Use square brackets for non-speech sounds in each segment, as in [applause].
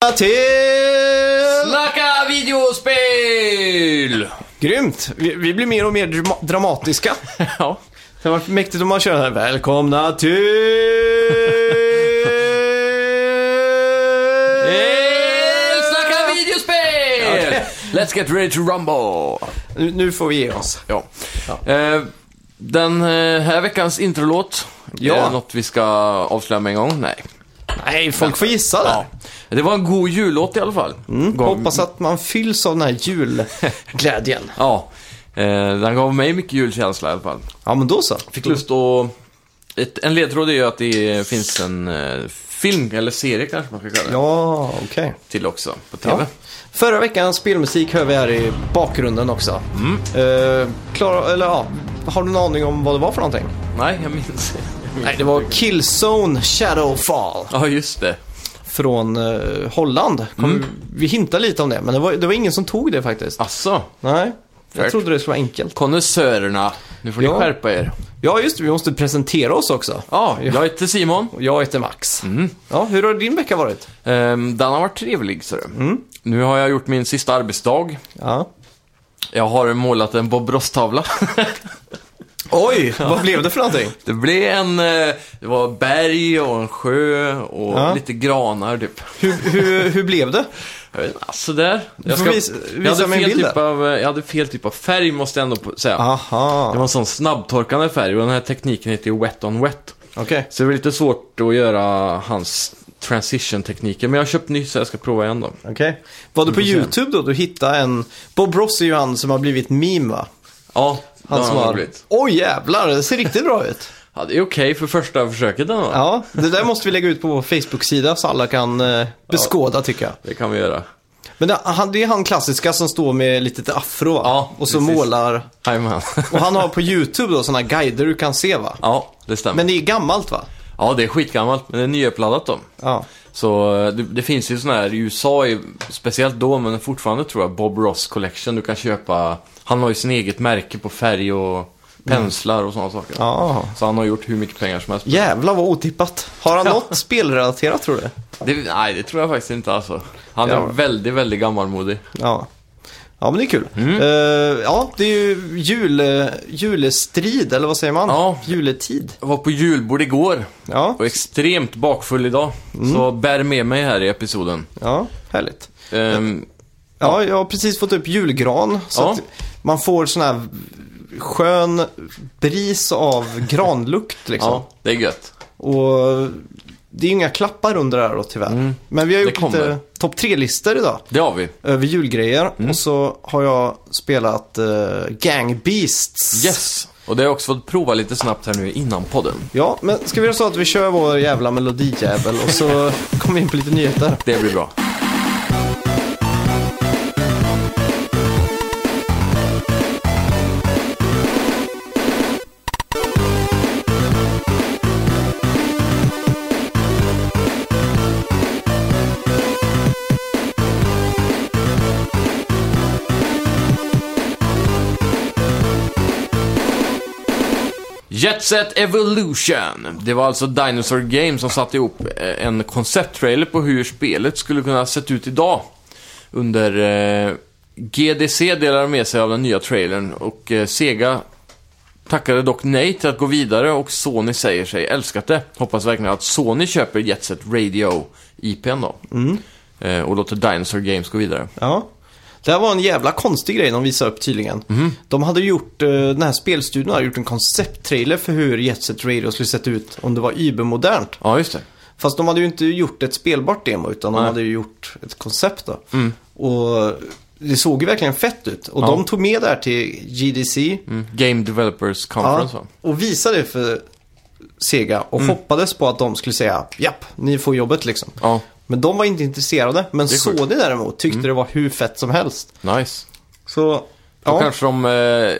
välkomna till... Snacka videospel! Grymt! Vi, vi blir mer och mer drama- dramatiska. Ja. Det var mäktigt om man kör här. Välkomna till... Till Eh, Snacka videospel! Let's get ready to rumble! Nu, nu får vi ge oss. Ja. Eh, Den eh, här veckans introlåt, Ja. är det något vi ska avslöja med en gång? Nej. Nej, folk får gissa Ja. där. Det var en god jullåt i alla fall. Mm. Gav- Hoppas att man fylls av den här julglädjen. Ja. Eh, Den gav mig mycket julkänsla i alla fall. [laughs] Ja, men då så. Fick lust att... Ett, en ledtråd är ju att det finns en eh, film, eller serie kanske man ska kalla det, Ja, okej. till också på TV. Ja. Förra veckans spelmusik hör vi här i bakgrunden också. Eh, klara, eller, ja, har du någon aning om vad det var för någonting? Nej, jag minns inte. Nej, det var Killzone Shadowfall Ja, just det. från eh, Holland. Kom, Vi hintade lite om det, men det var, det var ingen som tog det faktiskt. Asså, Nej, jag Fair. trodde det skulle vara enkelt. konnässörerna. Nu får ni Ja. skärpa er. Ja, just det, vi måste presentera oss också. Ja, jag heter Simon. Och Jag heter Max. Ja, hur har din vecka varit? Ehm, den har varit trevlig, ser du. Mm. Nu har jag gjort min sista arbetsdag. Ja. Jag har målat en Bob Ross-tavla. [laughs] Oj, vad blev det för någonting? Det blev en... eh, Det var berg och en sjö och Ja. lite granar, typ. [laughs] Hur, hur, hur blev det? Jag vet inte, alltså där. får Jag, visa- jag, visa hade mig en fel bild typ där. av, eh, jag hade fel typ av färg, måste jag ändå på- säga. Det Aha, var en sån snabbtorkande färg och den här tekniken heter ju wet on wet. okej. Så det var lite svårt att göra hans transition-tekniker. Men jag har köpt ny så jag ska prova igen då. Okej. Var du på Vi får se. YouTube då? Du hittade en... Bob Ross är ju han som har blivit meme va? Ja, Han som har... blivit. Oj jävlar, det ser riktigt bra ut. Ja, det är okej för första försöket ändå. Ja, det där måste vi lägga ut på vår Facebook-sida så alla kan eh, beskåda tycker jag. Det kan vi göra. Men det, han, det är han klassiska som står med lite afro va? Ja, Och så precis. målar. Jajamän. Och han [laughs] har på YouTube då sådana guider du kan se va? [laughs] ja, det stämmer. Men det är gammalt va? Ja, det är skitgammalt, men det är nyuppladdat då. Ja. Så eh, det, det finns ju sådana här i USA, i- speciellt då, men fortfarande tror jag, Bob Ross Collection. Du kan köpa, han har ju sin eget märke på färg och penslar och sådana saker. ja. Så han har gjort hur mycket pengar som helst. Jävlar vad otippat. Har han något spelrelaterat tror du? Det, nej, det tror jag faktiskt inte alltså. Han är Ja. väldigt, väldigt gammalmodig. Ja. Ja, men det är kul. Eh, ja, det är ju jul, eh, julestrid, eller vad säger man? Ja. Juletid. Jag var på julbord igår Ja, och extremt bakfull idag. Så bär med mig här i episoden. ja härligt. Ehm, Ja, jag har precis fått upp julgran. Så Ja. att man får sån här skön bris av granlukt liksom. ja, det är gött. Och det är ju inga klappar under det här då tyvärr. Men vi har Mm. Det gjort lite kommer. Mm. topp tre-listor idag. Det har vi. Över julgrejer. Och så har jag spelat eh, Gang Beasts. Yes! Och det har jag också fått prova lite snabbt här nu innan podden. Ja, men ska vi göra så att vi kör vår jävla melodijävel och så [laughs] kommer vi in på lite nyheter. Det blir bra. Jet Set Evolution. Det var alltså Dinosaur Game som satte ihop eh, en koncepttrailer på hur spelet skulle kunna ha sett ut idag. Under eh, GDC delade de med sig av den nya trailern och eh, Sega tackade dock nej till att gå vidare och Sony säger sig älskat det. Hoppas verkligen att Sony köper Jet Set Radio IPn då. Eh, och låter Dinosaur Games gå vidare. Ja. Det här var en jävla konstig grej de visade upp tydligen. Mhm. De hade gjort, eh, den här spelstudion hade gjort en koncepttrailer för hur Jet Set Radio skulle sett ut om det var übermodernt. Ja, just det. Fast de hade ju inte gjort ett spelbart demo utan de Nej. Mm. hade ju gjort ett koncept då. Och det såg ju verkligen fett ut. Och Ja. de tog med det här till GDC. Mm. Game Developers Ja, Conference va? och visade det för Sega och hoppades på att de skulle säga japp, ni får jobbet liksom. Mm. Ja, Men de var inte intresserade. Men Det är sjukt. Mm. Sony däremot tyckte det var hur fett som helst. nice. Så, Då ja. kanske de eh,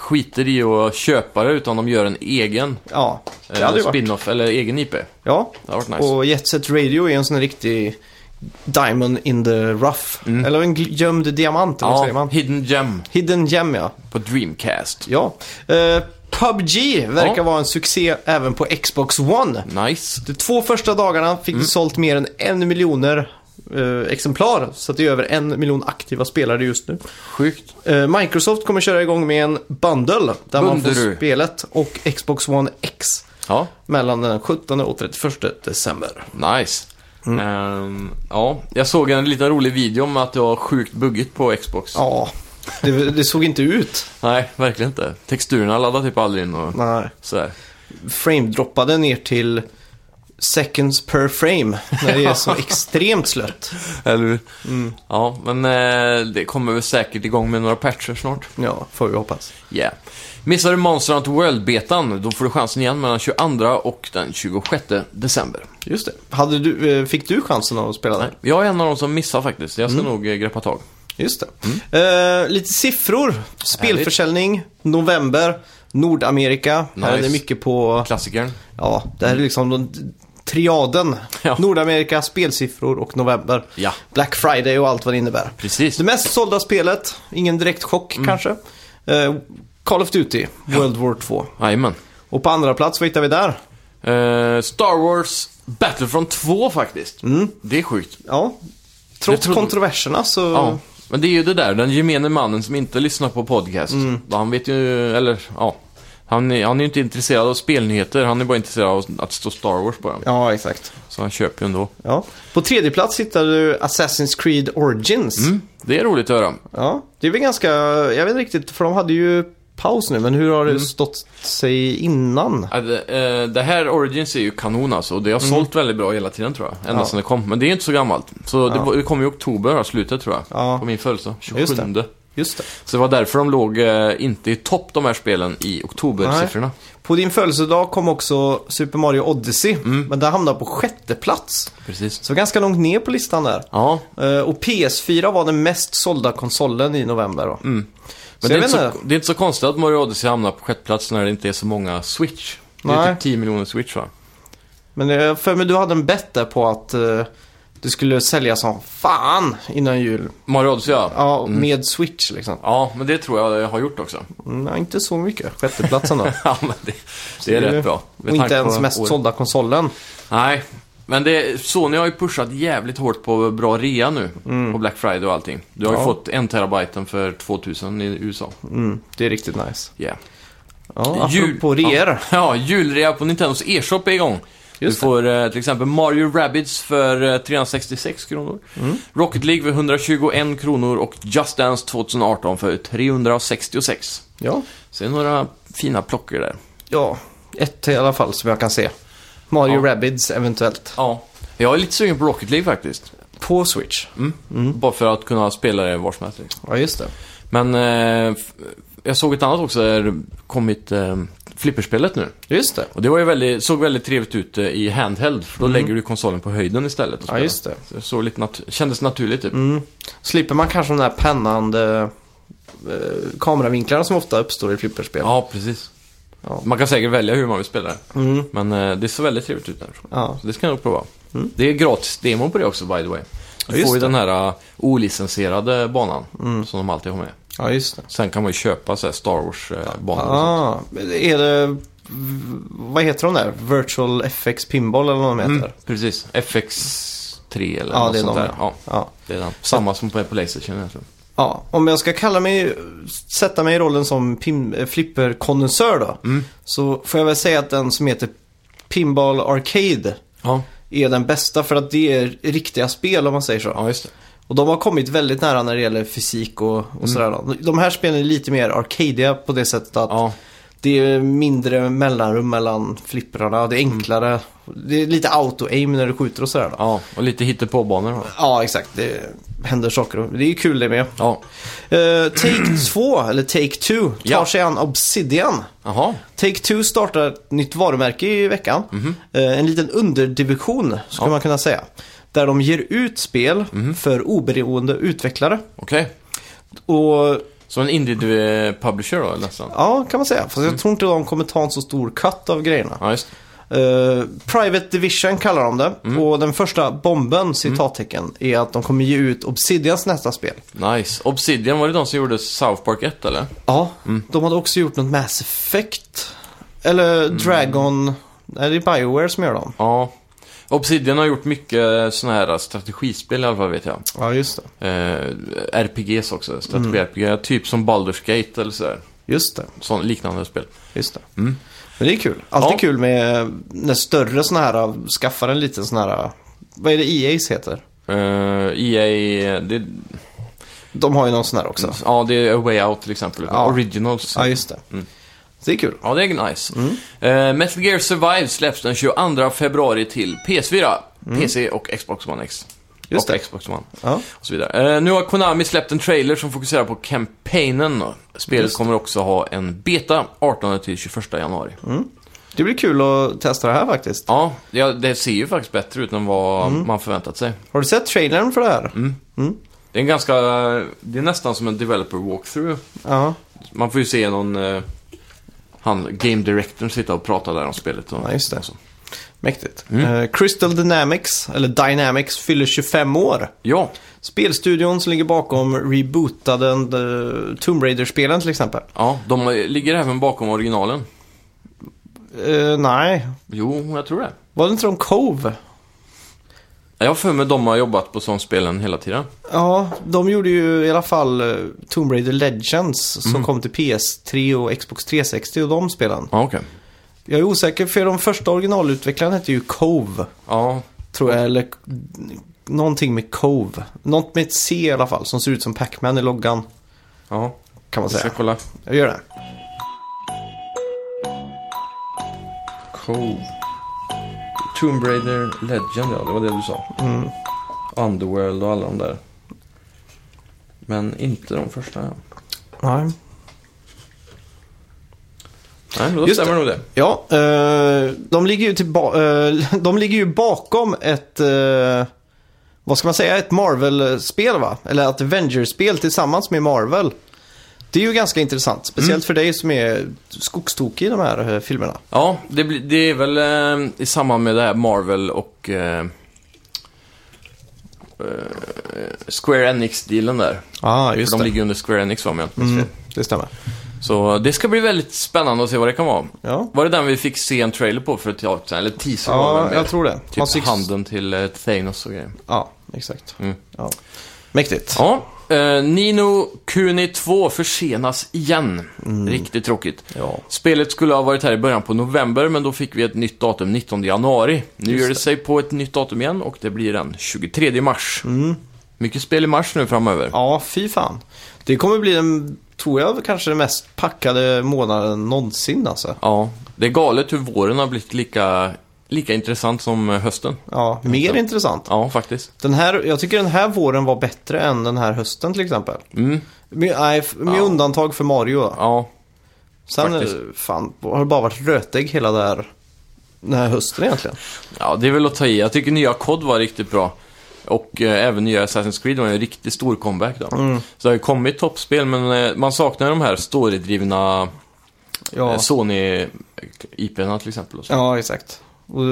skiter i att köpa det utan de gör en egen ja. Det hade eh, ju varit. spin-off eller egen IP. Det Ja. hade varit nice. Och Jet Set Radio är en sån här riktig diamond in the rough. Eller en gl- gömd diamant, eller vad säger Mm. ja, man? Hidden Gem Hidden gem, ja. på Dreamcast. ja. Eh, PubG verkar Ja. vara en succé även på Xbox One. Nice. Mm. De två första dagarna fick det sålt mer än en miljoner eh, exemplar. Så att det är över en miljon aktiva spelare just nu. Sjukt. Eh, Microsoft kommer köra igång med en bundle där man får Bunderud. spelet och Xbox One X Ja, mellan den 17 och 31 december. nice. Mm. Ehm, ja, jag såg en liten rolig video om att det var sjukt buggigt på Xbox. Ja, det, det såg inte ut. Nej, verkligen inte. Texturerna laddade typ aldrig in och Nej. sådär. Frame-droppade ner till seconds per frame när det är [laughs] så extremt slött. Eller hur? Ja, men eh, det kommer väl säkert igång med några patcher snart. Ja, får vi hoppas. Yeah. Missar du Monster Hunter World-betan, då får du chansen igen mellan 22 och den 26 december. Just det. Hade du, eh, fick du chansen att spela Nej, den? jag är en av de som missar faktiskt. Jag Mm. ska nog eh, greppa tag. Just det. Eh, lite siffror. Spelförsäljning, november, Nordamerika. Här är det Nice. mycket på, Klassikern. ja, det här är liksom den triaden. Ja. Nordamerika, spelsiffror och november. Ja, Black Friday och allt vad det innebär. precis. Mm. Det mest sålda spelet, ingen direkt chock kanske. Eh, Call of Duty, World War 2. Jajamän. Och på andra plats, vad hittar vi där? Eh, Star Wars Battlefront 2 faktiskt. Det är sjukt. Mm. Ja, trots Det trodde- kontroverserna så... Ja. Men det är ju det där, den gemene mannen som inte lyssnar på podcast. Mm. Han vet ju, eller ja. Han är, han är ju inte intresserad av spelnyheter, han är bara intresserad av att stå Star Wars på den. Ja, exakt. Så han köper ju ändå. Ja. På tredje plats hittar du Assassin's Creed Origins. Mm, det är roligt att höra. Ja, det är väl ganska... Jag vet inte riktigt, för de hade ju paus nu, men hur har det Mm. stått sig innan? Ja, Det, eh, det här Origins är ju kanon alltså, och det har sålt väldigt bra hela tiden tror jag. Ända Mm. Ja. sedan det kom. Men det är inte så gammalt. Så det, var- det kom ju i oktober, här, slutet tror jag. Ja. På min födelsedag, Just 27. Just det. Så det var därför de låg eh, inte i topp de här spelen i oktobersiffrorna. På din födelsedag kom också Super Mario Odyssey, Mm. men där hamnade på sjätte plats. Precis. Så ganska långt ner på listan där. Ja, Eh, Och PS4 var den mest sålda konsolen i november då. Så Mm. men det är, jag inte vet så, inte. det är inte så konstigt att Mario Odyssey hamnar på sjätte plats när det inte är så många Switch. Det är Nej. typ 10 miljoner Switch va? Men jag för mig du hade en bet där på att eh, du skulle sälja som fan innan jul. Mario Odyssey ja. ja. Ja, med Switch liksom. men det tror jag jag har gjort också. [laughs] Mm, Nej, inte så mycket. Sjätteplatsen då. ja, men det, det är Det är ju- rätt bra. Med Och inte tanke på ens mest året. sålda konsolen. Nej, men det, Sony har ju pushat jävligt hårt på bra rea nu. På Black Friday och allting. Du har ju Mm. Ja. fått en terabyte för 2000 i USA. Mm, det är riktigt nice. Yeah. Ja, Jul- apropå reor. Ja, julrea på Nintendos e-shop är igång. Just du får eh, till exempel Mario Rabbids för eh, 366 kronor. Mm. Rocket League för 121 kronor och Just Dance 2018 för 366. Ja. Så det är några fina plockor där. ja, ett i alla fall som jag kan se. Mario Ja. Rabbids eventuellt. Ja. Jag är lite sugen på Rocket League faktiskt. På Switch. Mm. Bara för att kunna spela det var som helst. liksom. Ja, just det. Men eh, f- jag såg ett annat också, det har kommit eh, flipperspelet nu. Just det. Och det var ju väldigt, såg väldigt trevligt ut eh, i handheld, för då lägger du konsolen på höjden istället och Mm. Ja, spelar. just Mm. det. Så det såg lite nat- kändes naturligt typ. Slipper man kanske de där pennande eh, kameravinklarna som ofta uppstår i flipperspel. Ja, precis. Ja. Man kan säkert välja hur man vill spela det. Mm. Men eh, det såg väldigt trevligt ut där. Ja. Mm. Så det ska jag nog prova. Det är gratis demo på det också by the way. Ja, Du just får ju det. Mm. den här eh, olicensierade banan som de alltid har med. ja, just det. Sen kan man ju köpa så här Star eh, Wars-banor. Ah, men är det... v- Vad heter de där? Virtual FX Pinball eller vad de heter? Mm, precis. FX3 eller Ja, något det är sånt de, där. Ja, Ja. det är den. Samma som på på Playstation egentligen. ja. Om jag ska kalla mig... Sätta mig i rollen som pin- eh, flipperkonnässör då. Så får jag väl säga att den som heter Pinball Arcade Ja, är den bästa för att det är riktiga spel om man säger så. ja just det. Och de har kommit väldigt nära när det gäller fysik och, Mm. och sådär. då. De här spelen är lite mer arcadiga på det sättet att Ja, det är mindre mellanrum mellan flipprarna. Det är enklare. Det är lite auto-aim när du skjuter och sådär. Då. Mm. ja. och lite hittepåbanor då. Ja, exakt. Det händer saker. och- Det är kul det med. Ja, Eh, take [clears throat] 2, eller Take 2, tar Ja. sig an Obsidian. jaha. Take-Two startar ett nytt varumärke i veckan. Eh, En liten underdivision, skulle man kunna säga. Där de ger ut spel för oberoende utvecklare. Okej. Och Så en indie-publisher då nästan? ja, kan man säga. Fast jag tror inte de kommer ta en så stor cut av grejerna. Ja, just det. Eh, Private Division kallar de det. Och den första bomben, citattecken, är att de kommer ge ut Obsidians nästa spel. Nice. Obsidian, var det de som gjorde South Park 1 eller? Ja, Mm. de hade också gjort något Mass Mm. Effect. Eller Dragon... Nej, det är Bioware som gör dem. Ja. Obsidian har gjort mycket sådana här strategispel i alla fall vet jag. Ja, just det. Eh, RPGs också, Mm. strategi-RPG. Typ som Baldur's Gate eller sådär. Just det. Sån, liknande spel. Just det. Mm. Men det är kul. Alltid Ja. kul med när större sådana här skaffar en liten sån här, vad är det EA's heter? Eh, EA, det, De har ju någon sån här också. ja, det är A Way Out till exempel. Ja. Originals. Ja, Mm. just det. Mm. Så det är kul. Ja, det är nice. Eh, Metal Gear Survive släpps den 22 februari till PS4, PC och Xbox One X. Mm. Just och det. Xbox One Ja. och så vidare. Eh, nu har Konami släppt en trailer som fokuserar på campaignen. Spelet Just det. kommer också ha en beta 18-21 januari. Mm. Det blir kul att testa det här faktiskt. Ja, det, det ser ju faktiskt bättre ut än vad Mm. man förväntat sig. Har du sett trailern för det här? Mm. Det är en ganska... Det är nästan som en developer walkthrough. Ja, Man får ju se någon... Eh, han, Game Directorn sitta och prata där om spelet. Och, Ja, just det. och så. mäktigt. Mm. Eh, Crystal Dynamics, eller Dynamics, fyller 25 år. Ja, Spelstudion som ligger bakom rebootade eh, Tomb Raider-spelen till exempel. ja, de ligger även bakom originalen. Eh, nej, Jo, jag tror det. var det inte de Cove? Jag har för mig de har jobbat på sån spelen hela tiden. Ja, de gjorde ju i alla fall eh, Tomb Raider Legends som kom till PS3 och Xbox 360 och de spelen. Ja, okej. Jag är osäker för de första originalutvecklarna hette ju Cove, Ja, tror jag, eller någonting med Cove. Något med ett C i alla fall som ser ut som Pac-Man i loggan, ja. kan man Jag ska säga. kolla. Jag gör det. Cove. Tomb Raider Legend, ja. Det var det du sa. Mm. Underworld och alla de där. Men inte de första, ja. Nej. Nej, men då Just stämmer det. nog det. Ja, eh, de, ligger ju tillba- eh, [laughs] de ligger ju bakom ett, eh, vad ska man säga, ett Marvel-spel va? Eller ett Avengers-spel tillsammans med Marvel. Det är ju ganska intressant, speciellt Mm. för dig som är skogstokig i de här eh, filmerna. Ja, det, blir- det är väl eh, i samband med det här Marvel och eh, eh, Square Enix-dealen där. Ja, För de ligger under Square Enix va, om jag inte minns fel. Mm, det stämmer. Så eh, det ska bli väldigt spännande att se vad det kan vara. Ja, Var det den vi fick se en trailer på för ett tag sedan? Eller teaser var ja det jag mer. tror det. Man Typ syns- handen till eh, Thanos och grejer. Ja, exakt. Mm. Ja. Mäktigt. Ja, eh, Nino Kuni 2 försenas igen. Riktigt tråkigt. Mm. Ja. Spelet skulle ha varit här i början på november, men då fick vi ett nytt datum 19 januari. Nu Just gör det det. sig på ett nytt datum igen och det blir den 23 mars. Mycket spel i mars nu framöver. Mm. Ja, fy fan. Det kommer bli den, tror jag, kanske den mest packade månaden någonsin alltså. Ja, det är galet hur våren har blivit lika, lika intressant som hösten. Ja, mer intressant. Ja, faktiskt. Den här, jag tycker den här våren var bättre än den här hösten till exempel. Mm. Med, nej, f- med Ja. undantag för Mario. då. Ja, Sen faktiskt. eh, fan, har det bara varit rötägg hela där, den här hösten egentligen. Ja, det är väl att ta i. Jag tycker nya COD var riktigt bra. Och eh, även nya Assassin's Creed var en riktigt stor comeback då. Mm. Så det har ju kommit toppspel, men eh, man saknar de här storydrivna Ja, eh, Sony-IP'na till exempel. Och så. ja exakt. Och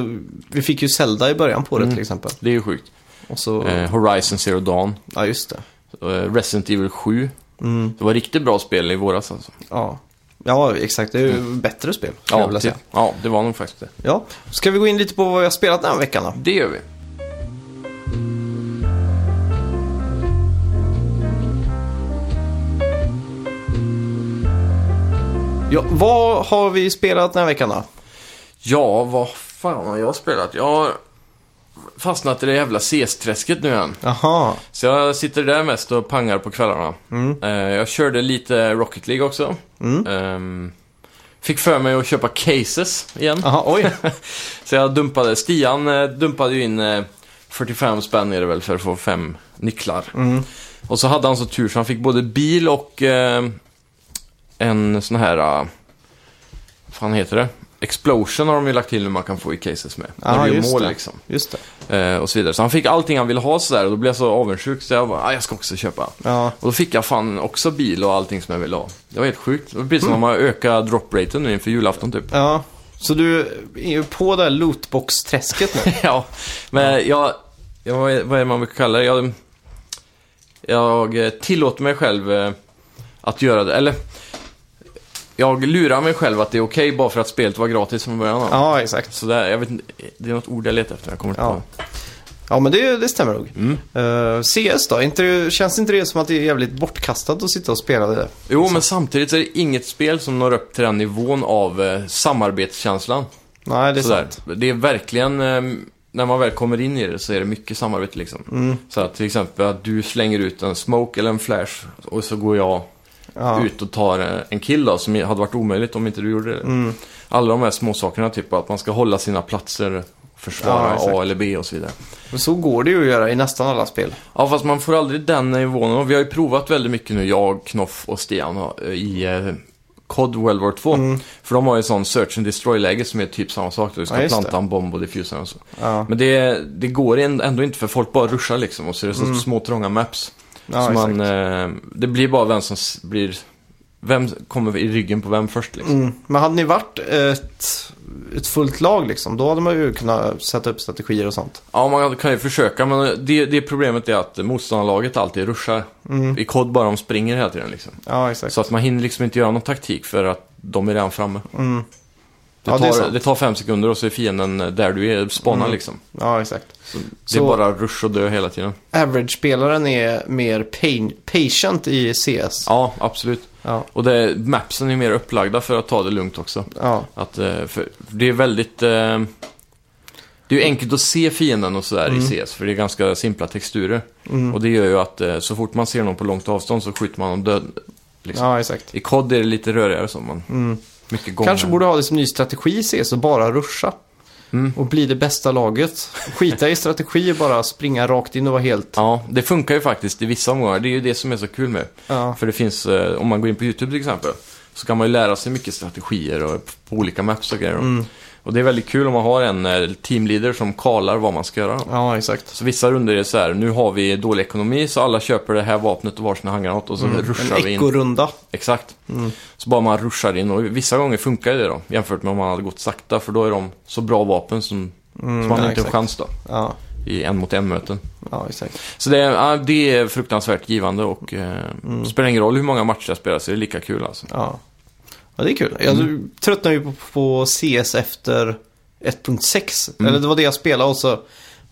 vi fick ju Zelda i början på det till exempel. Det är ju sjukt. Och så, Mm. Eh, Horizon Zero Dawn, ja just det. eh, Resident Evil 7. Mm. Det var riktigt bra spel i våras alltså. Ja, ja exakt. Det är ju bättre spel. skulle jag vilja det, säga. Mm. ja, typ. det var nog faktiskt det. Ja. Ska vi gå in lite på vad jag har spelat den här veckan då? Det gör vi. Ja, vad har vi spelat den här veckan då? Ja, vad fan har jag spelat? Jag har fastnat i det jävla CS-träsket nu igen. Jaha, Så jag sitter där mest och pangar på kvällarna. Mm. Eh, jag körde lite Rocket League också. Ehm, fick för mig att köpa cases igen. Aha, [laughs] oj. Så jag dumpade, Stian eh, dumpade ju in eh, 45 spänn är det väl för att få fem nycklar. Mm. Och så hade han så tur så han fick både bil och eh, en sån här, eh, vad fan heter det? Explosion har de ju lagt till hur man kan få i cases med. Ja, När du gör just mål det. liksom. Just det. Eh, och så vidare. Så han fick allting han ville ha sådär och då blev jag så avundsjuk så jag bara, ah, jag ska också köpa. Ja. Och då fick jag fan också bil och allting som jag ville ha. Det var helt sjukt. Det var precis som Mm. om man ökar drop-raten nu inför julafton typ. [laughs] Ja, så du är ju på det här lootbox-träsket [laughs] nu? ja, men jag, jag, vad är- vad är det man brukar kalla det? Jag, jag eh, tillåter mig själv eh, att göra det, eller jag lurar mig själv att det är okej bara för att spelet var gratis från början. av. Ja, exakt. Så där, jag vet inte, det är något ord jag letar efter, jag kommer inte Ja. på. Ja, men det, det stämmer nog. Mm. Eh, CS då? Inte, känns inte det som att det är jävligt bortkastat att sitta och spela det? Jo, men samtidigt så är det inget spel som når upp till den nivån av eh, samarbetskänslan. Nej, det är Sådär. sant. Det är verkligen, eh, när man väl kommer in i det så är det mycket samarbete liksom. Mm. Så att till exempel att du slänger ut en smoke eller en flash och så går jag Ja. ut och tar eh, en kill då, som hade varit omöjligt om inte du gjorde det. Mm. Alla de här små sakerna typ att man ska hålla sina platser, Ja, försvara exakt. A eller B och så vidare. Men så går det ju att göra i nästan alla spel. Ja, fast man får aldrig den nivån. Och vi har ju provat väldigt mycket nu, jag, Knoff och Stian, eh, i eh, COD World War 2. Mm. För de har ju sån Search and Destroy-läge som är typ samma sak. Då. Du ska Ja, just planta en bomb och diffusa och så. Ja. Men det, det går en- ändå inte för folk bara ruschar liksom och så är det så små trånga maps. Mm. Ja, så exakt. man, eh, det blir bara vem som s- blir... Vem kommer i ryggen på vem först liksom. Mm. Men hade ni varit ett, ett fullt lag liksom, då hade man ju kunnat sätta upp strategier och sånt. Ja, man kan ju försöka men det, det problemet är att motståndarlaget alltid ruschar. Mm. I COD bara de springer hela tiden liksom. Ja, exakt. Så att man hinner liksom inte göra någon taktik för att de är redan framme. Mm. Det, Ja, det är tar, det, sant. Mm. tar fem sekunder och så är fienden där du är, spanar liksom. Ja, exakt. Det är bara rush och dö hela tiden. Average-spelaren är mer pain, patient i CS. Ja, absolut. Ja. Och det, mapsen är mer upplagda för att ta det lugnt också. Ja, Att, eh, för det är väldigt... eh, Det är ju enkelt att se fienden och sådär Mm. i CS, för det är ganska simpla texturer. Och det gör ju att eh, så fort man ser någon på långt avstånd så skjuter man dem död. Liksom. ja exakt. I COD är det lite rörigare så, man... Mycket gånger. Mm. Kanske borde ha det som ny strategi i CS och bara ruscha. Mm. Och bli det bästa laget. Skita i strategi och bara springa rakt in och vara helt... Ja, det funkar ju faktiskt i vissa omgångar. Det är ju det som är så kul med. Ja. För det finns, eh, om man går in på YouTube till exempel, så kan man ju lära sig mycket strategier och på olika maps och grejer. Mm. Och det är väldigt kul om man har en eh, teamleader som kallar vad man ska göra. Ja, exakt. Så vissa runder är så här, nu har vi dålig ekonomi så alla köper det här vapnet och varsin handgranat och så ruschar Mm. En Mm. vi in. ekorunda. Exakt. Så bara man ruschar in och vissa gånger funkar ju det då, jämfört med om man hade gått sakta för då är de så bra vapen som, som man Mm. ja, inte har exakt. chans då, Ja, i en mot en-möten. ja, exakt. Så det, är- ja, det är fruktansvärt givande och eh, spelar ingen roll hur många matcher jag spelar så är det lika kul alltså. Ja. ja, det är kul. Jag Mm. tröttnade ju på, på CS efter 1.6. Mm. Eller det var det jag spelade och så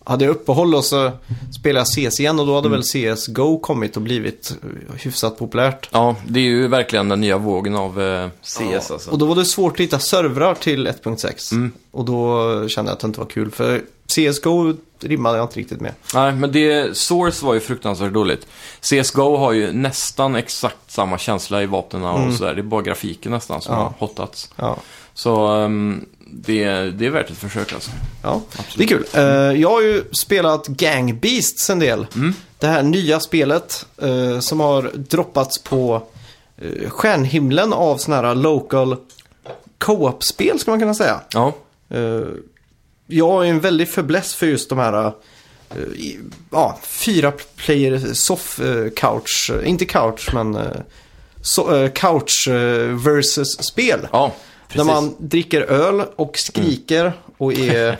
hade jag uppehåll och så spelade jag CS igen och då hade Mm. väl CS GO kommit och blivit eh, hyfsat populärt. Ja, det är ju verkligen den nya vågen av eh, CS alltså. Och då var det svårt att hitta servrar till 1.6. Mm. Och då kände jag att det inte var kul för CSGO rimmade jag inte riktigt med. Nej, men det, Source var ju fruktansvärt dåligt. CSGO har ju nästan exakt samma känsla i vapnen och sådär. Det är bara grafiken nästan som Ja. har hottats. Ja, Så ehm, det, det är värt ett försök alltså. ja. det är kul. Eh, jag har ju spelat Gang Beasts en del. Mm. Det här nya spelet eh, som har droppats på uh, stjärnhimlen av sådana här local co-op-spel ska man kunna säga. Ja, Eh, jag har ju en väldig fäbless för just de här eh, i- ja, fyra player soff eh, couch, eh, inte couch men eh, so, eh, couch eh, versus spel. ja precis. Där man dricker öl och skriker och [laughs] är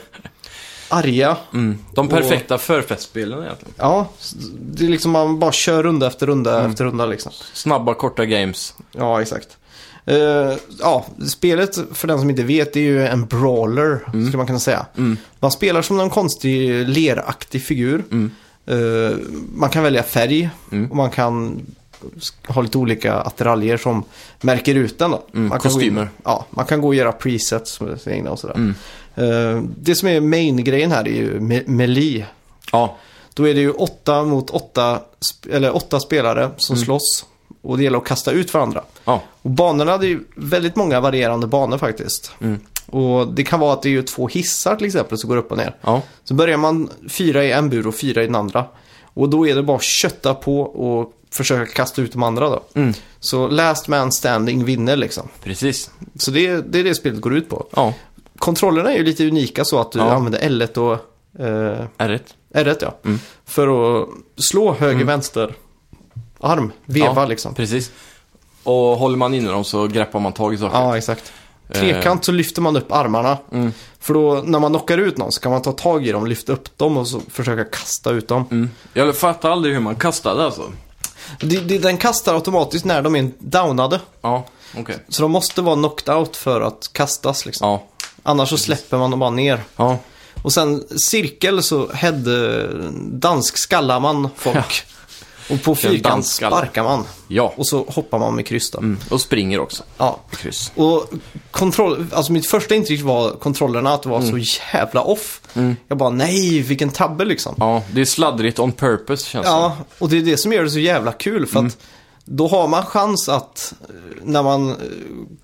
arga. mm. De perfekta förfestspelen egentligen. Ja, s- det är liksom man bara kör runda efter runda Mm. efter runda liksom. Snabba, korta games. Ja, exakt. Eh, ja, spelet för den som inte vet är ju en brawler Mm. skulle man kunna säga. Man spelar som en konstig leraktig figur. Mm. Eh, man kan välja färg och man kan sk- ha lite olika attiraljer som märker ut den. Då. Mm, man kan gå kostymer. Mm. In, ja, man kan gå och göra presets med sina egna och sådär. Eh, det som är main-grejen här är ju me- melee. Ja, Då är det ju åtta mot åtta, sp- eller åtta spelare som Mm. slåss. Och det gäller att kasta ut varandra. ja. Och banorna, det är ju väldigt många varierande banor faktiskt. Mm. Och det kan vara att det är ju två hissar till exempel som går upp och ner. ja. Så börjar man fyra i en bur och fyra i den andra. Och då är det bara att kötta på och försöka kasta ut de andra då. Mm. Så last man standing vinner liksom. Precis. Så det är, det är det spelet går ut på. Ja, Kontrollerna är ju lite unika så att du Ja. använder L1 och eh, R1. R1 ja. Mm. För att slå höger, vänster, arm, veva liksom. Precis. Och håller man inne dem så greppar man tag i saker. Ja, exakt. Trekant så lyfter man upp armarna. Eh. Mm. För då när man knockar ut någon så kan man ta tag i dem, lyfta upp dem och så försöka kasta ut dem. Mm. Jag fattar aldrig hur man kastade alltså. Det, det, den kastar automatiskt när de är downade. Ja. Okej. Så de måste vara knocked out för att kastas liksom. Ja. Annars så släpper man dem bara ner. Ja. Och sen cirkel så head, eh, dansk skallar man folk. Och på Kör en fyrkant dansskalle. sparkar man. Ja. Och så hoppar man med kryss då. Mm. Och springer också. Ja. Kryss. Och kontroll, alltså mitt första intryck var kontrollerna, att det var Mm. så jävla off. Jag bara nej, vilken tabbe liksom. Ja, det är sladdrigt on purpose känns det Ja, och det är det som gör det så jävla kul Mm. för att då har man chans att eh, när man, eh,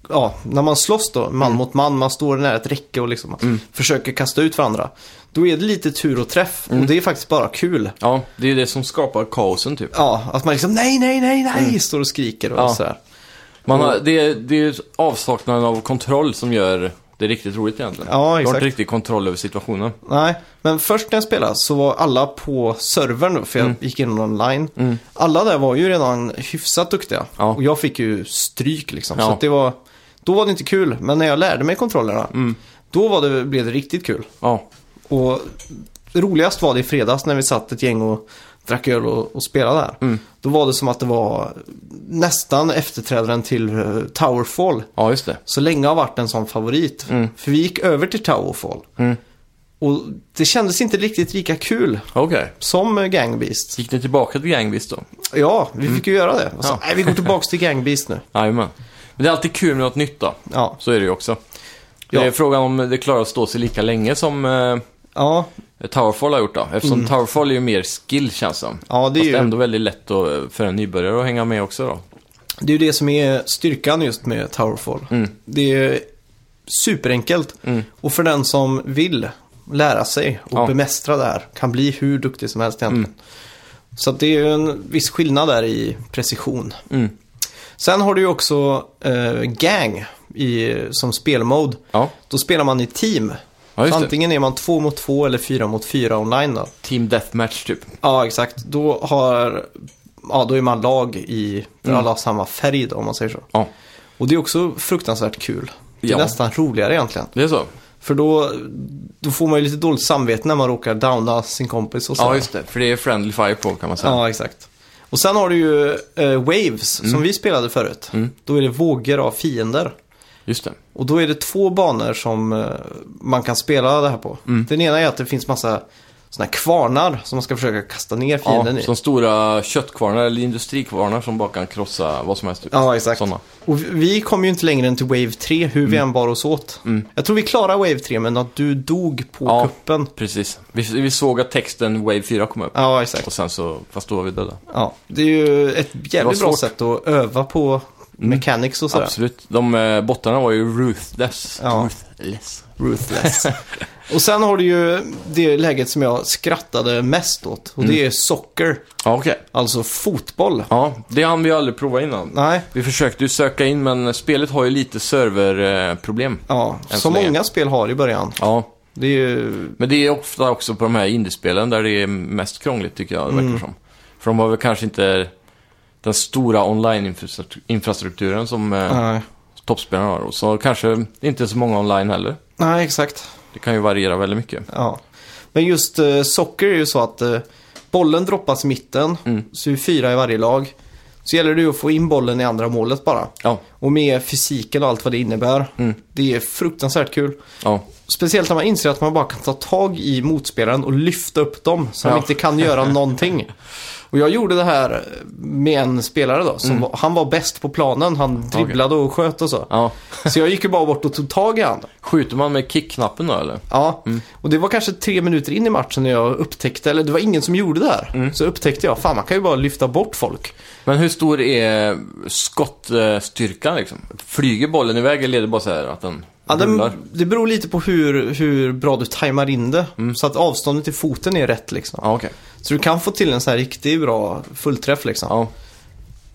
ja, när man slåss då, man Mm. mot man, man står nära ett räcke och liksom försöker kasta ut varandra. Då är det lite tur och träff Mm. och det är faktiskt bara kul. Ja, det är det som skapar kaosen typ. Ja, att man liksom nej, nej, nej, nej, står och skriker och Mm. Ja. sådär. Man har, det, är, det är avsaknaden av kontroll som gör det riktigt roligt egentligen. Ja, Du har exakt. inte riktigt kontroll över situationen. Nej, men först när jag spelade så var alla på servern, då, för Mm. jag gick in online. Alla där var ju redan hyfsat duktiga. Ja. Och jag fick ju stryk liksom. Så Ja. att det var, då var det inte kul, men när jag lärde mig kontrollerna, Mm. då var det, blev det riktigt kul. Ja, Och roligast var det i fredags när vi satt ett gäng och drack öl och, och spelade där. Mm. Då var det som att det var nästan efterträdaren till eh, Towerfall ja just det. så länge har varit en sån favorit. För vi gick över till Towerfall. Och det kändes inte riktigt lika kul Okej. som eh, Gang Beast. Gick ni tillbaka till Gangbeast då? Ja, vi fick ju göra det. Och så, Ja. Nej, vi går tillbaka till Gang Beast nu. Jajamän. Men det är alltid kul med något nytt då. Ja, Så är det ju också. Ja. Det är frågan om det klarar att stå sig lika länge som eh, ja, Towerfall har gjort då. Eftersom Towerfall är ju mer skill känns som. Mm. ja det, är Fast ju, ändå väldigt lätt att, eh, för en nybörjare att hänga med också då. det är ju det som är styrkan just med Towerfall. Mm. Det är superenkelt. Och för den som vill lära sig och Ja. Mm. bemästra det här kan bli hur duktig som helst egentligen. Så att det är ju en viss skillnad där i precision. Mm. Sen har du ju också eh, gang i, som spelmode. Ja, Då spelar man i team. ja så just det. antingen är man två mot två eller fyra mot fyra online då. Team Deathmatch typ. Ja, exakt. Då, har, ja, då är man lag i, där alla har samma färg då, om man säger så. Mm. Ja, Och det är också fruktansvärt kul. Det är Ja. nästan roligare egentligen. det är så. För då, då får man ju lite dåligt samvete när man råkar downa sin kompis och så. Ja, just det. För det är friendly fire på kan man säga. Ja, exakt. Och sen har du ju eh, waves, som Mm. vi spelade förut. Då är det vågor av fiender. Just det. Och då är det två banor som eh, man kan spela det här på. Mm. Den ena är att det finns massa såna här kvarnar som man ska försöka kasta ner fienden Ja, i. som stora köttkvarnar eller industrikvarnar som bara kan krossa vad som helst. typ. Ja, exakt. Såna. Och vi- vi kom ju inte längre än till Wave 3, hur Mm. vi än bar oss åt. Jag tror vi klarade Wave 3, men att du dog på Ja. kuppen. Precis. Vi, vi såg att texten Wave 4 kom upp. Ja, exakt. Och sen så, fast då var vi döda. Ja. Det är ju ett jävligt bra svårt. Mm. sätt att öva på mechanics och sådär. Absolut. De eh, bottarna var ju ruthless. Ja. Ruthless. Ruthless. [laughs] och sen har du ju det läget som jag skrattade mest åt. Och Mm. det är socker, Ja, okej. alltså fotboll. Ja, det hann vi aldrig prova innan. Nej, Vi försökte ju söka in, men spelet har ju lite serverproblem. ja. Som Än så länge. många spel har i början. Ja, Det är ju... men det är ofta också på de här indiespelen där det är mest krångligt tycker jag, det Mm. verkar som. För de har väl kanske inte den stora online-infrastrukturen som eh, Nej. toppspelarna har. Och så kanske inte så många online heller. Nej, exakt. Det kan ju variera väldigt mycket. Ja. Men just eh, socker är ju så att eh, bollen droppas i mitten, Mm. så är det fyra i varje lag. Så gäller det ju att få in bollen i andra målet bara. Ja, Och med fysiken och allt vad det innebär. Mm. Det är fruktansvärt kul. ja, Speciellt när man inser att man bara kan ta tag i motspelaren och lyfta upp dem så de Ja. inte kan [laughs] göra någonting. Och jag gjorde det här med en spelare då. Som Mm. var, han var bäst på planen. Han dribblade och sköt och så. ja. Så jag gick ju bara bort och tog tag i han. Skjuter man med kickknappen då eller? Ja, och det var kanske tre minuter in i matchen när jag upptäckte, eller det var ingen som gjorde det här. Mm. Så upptäckte jag, fan man kan ju bara lyfta bort folk. Men hur stor är skottstyrkan liksom? Flyger bollen iväg eller är det bara så här att den Ja, det, rullar? det beror lite på hur, hur bra du tajmar in det. Så att avståndet till foten är rätt liksom. Mm. Ja, okej. Så du kan få till en sån här riktigt bra fullträff liksom. Ja,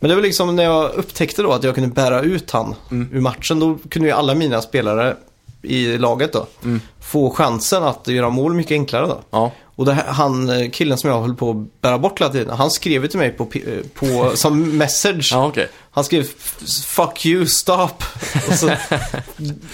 Men det var liksom när jag upptäckte då att jag kunde bära ut han Mm. ur matchen. Då kunde ju alla mina spelare i laget då Mm. få chansen att göra mål mycket enklare då. ja. Och det här, han, eh, killen som jag höll på att bära bort hela tiden, han skrev ju till mig på, pi- eh, på, som [laughs] message. ja okej. Han skrev "F- 'Fuck you, stop' och så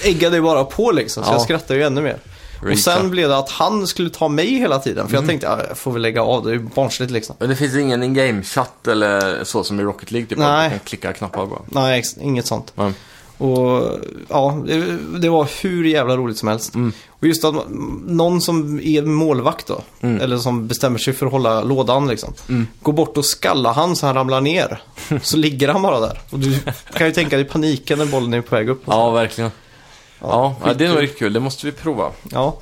eggade det bara på liksom, så Ja. jag skrattade ju ännu mer. Och Rita. Mhm. sen blev det att han skulle ta mig hela tiden. För jag tänkte, "Ja, jag får väl lägga av, det är ju barnsligt liksom. Men det finns ingen in-game-chatt eller så som i Rocket League? Typ, Nej. att Du kan klicka knappar bara. Nej, ex- inget sånt. Men, Och ja, det, det var hur jävla roligt som helst. Och just att man- någon som är målvakt då, eller som bestämmer sig för att hålla lådan liksom. Går bort och skallar han så han ramlar ner. Så ligger han bara där. Och du kan ju tänka dig paniken när bollen är på väg upp. ja, verkligen. Ja, ja, det är nog skitkul. riktigt kul. Det måste vi prova. Ja.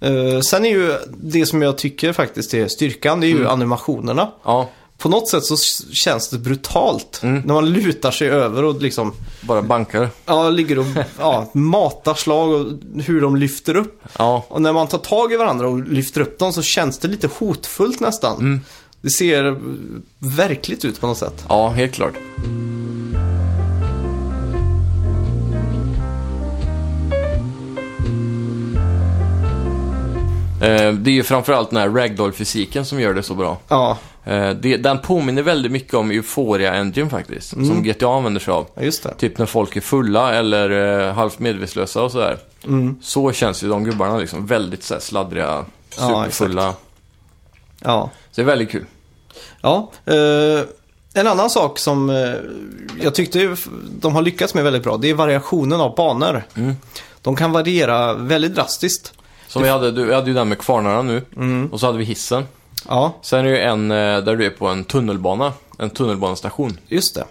Eh, sen är ju det som jag tycker faktiskt är styrkan, det är ju animationerna. Ja, På något sätt så s- känns det brutalt. När man lutar sig över och liksom bara bankar. ja, ligger och ja, matar slag och hur de lyfter upp. Ja, Och när man tar tag i varandra och lyfter upp dem så känns det lite hotfullt nästan. Det ser eh, verkligt ut på något sätt. ja helt klart. Eh, Det är ju framförallt den här ragdoll-fysiken som gör det så bra. Ja, Eh, det, den påminner väldigt mycket om Euphoria Engine faktiskt, som GTA använder sig av. ja, just det. Typ när folk är fulla eller eh, halvt medvetslösa och sådär. Så känns ju de gubbarna liksom. Väldigt så här, sladdriga, Ja, superfulla. Ja. så det är väldigt kul. ja. eh, en annan sak som eh, jag tyckte ju f- de har lyckats med väldigt bra, det är variationen av banor. De kan variera väldigt drastiskt. Som vi hade, du, vi hade ju den med kvarnarna nu. Och så hade vi hissen. Ja, Sen är det ju en eh, där du är på en tunnelbana. En tunnelbanestation. just det.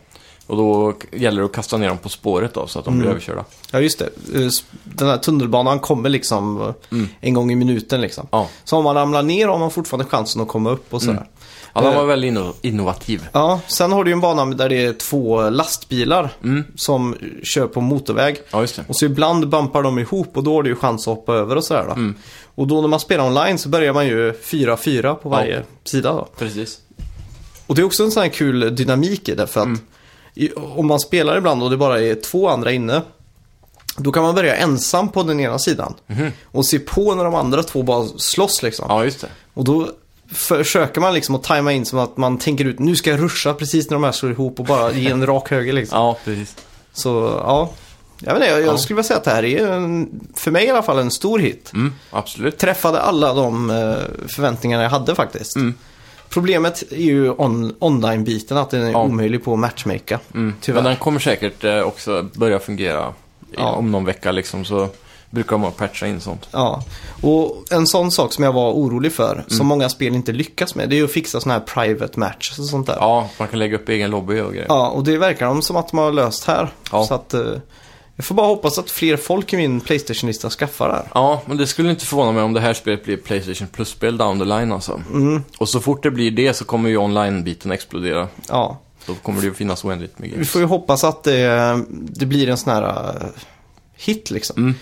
Och då k- gäller det att kasta ner dem på spåret då, så att de blir överkörda. Ja, just det. Eh, s- Den här tunnelbanan kommer liksom eh, en gång i minuten liksom. Ja, Så om man ramlar ner har man fortfarande chansen att komma upp och sådär. ja den Eh. var väldigt inno- innovativ. Ja, sen har du ju en bana där det är två lastbilar som kör på motorväg. Mm. Ja, just det. Och så ibland bumpar de ihop och då har du ju chans att hoppa över och sådär då. Mm. Och då när man spelar online så börjar man ju 4-4 på varje sida då. Precis. Och det är också en sån här kul dynamik i det för att Mm. i, om man spelar ibland och det bara är två andra inne. Då kan man börja ensam på den ena sidan. Och se på när de andra två bara slåss liksom. Mhm. Ja, just det. Och då försöker man liksom att tajma in som att man tänker ut nu ska jag ruscha precis när de här slår ihop och bara ge en rak höger liksom. Ja, precis. Så ja, jag, vet inte, jag, jag skulle vilja säga att det här är en, för mig i alla fall en stor hit. Mm, absolut. Träffade alla de eh, förväntningarna jag hade faktiskt. Mm. Problemet är ju on, online-biten, att den är Ja. omöjlig på att matchmaka. Tyvärr. Men den kommer säkert eh, också börja fungera i- Ja. om någon vecka liksom. Så brukar de bara patcha in sånt. Ja, och en sån sak som jag var orolig för, Mm. som många spel inte lyckas med, det är ju att fixa såna här private matches och sånt där. Ja, man kan lägga upp egen lobby och grejer. Ja, och det verkar de som att de har löst här. Ja. Så att, eh, jag får bara hoppas att fler folk i min Playstation-lista skaffar det här. Ja, men det skulle inte förvåna mig om det här spelet blir Playstation Plus-spel down the line alltså. Mm. Och så fort det blir det så kommer ju online-biten explodera. Ja. Då kommer det ju finnas oändligt med Vi games. får ju hoppas att det, det blir en sån här eh, hit liksom.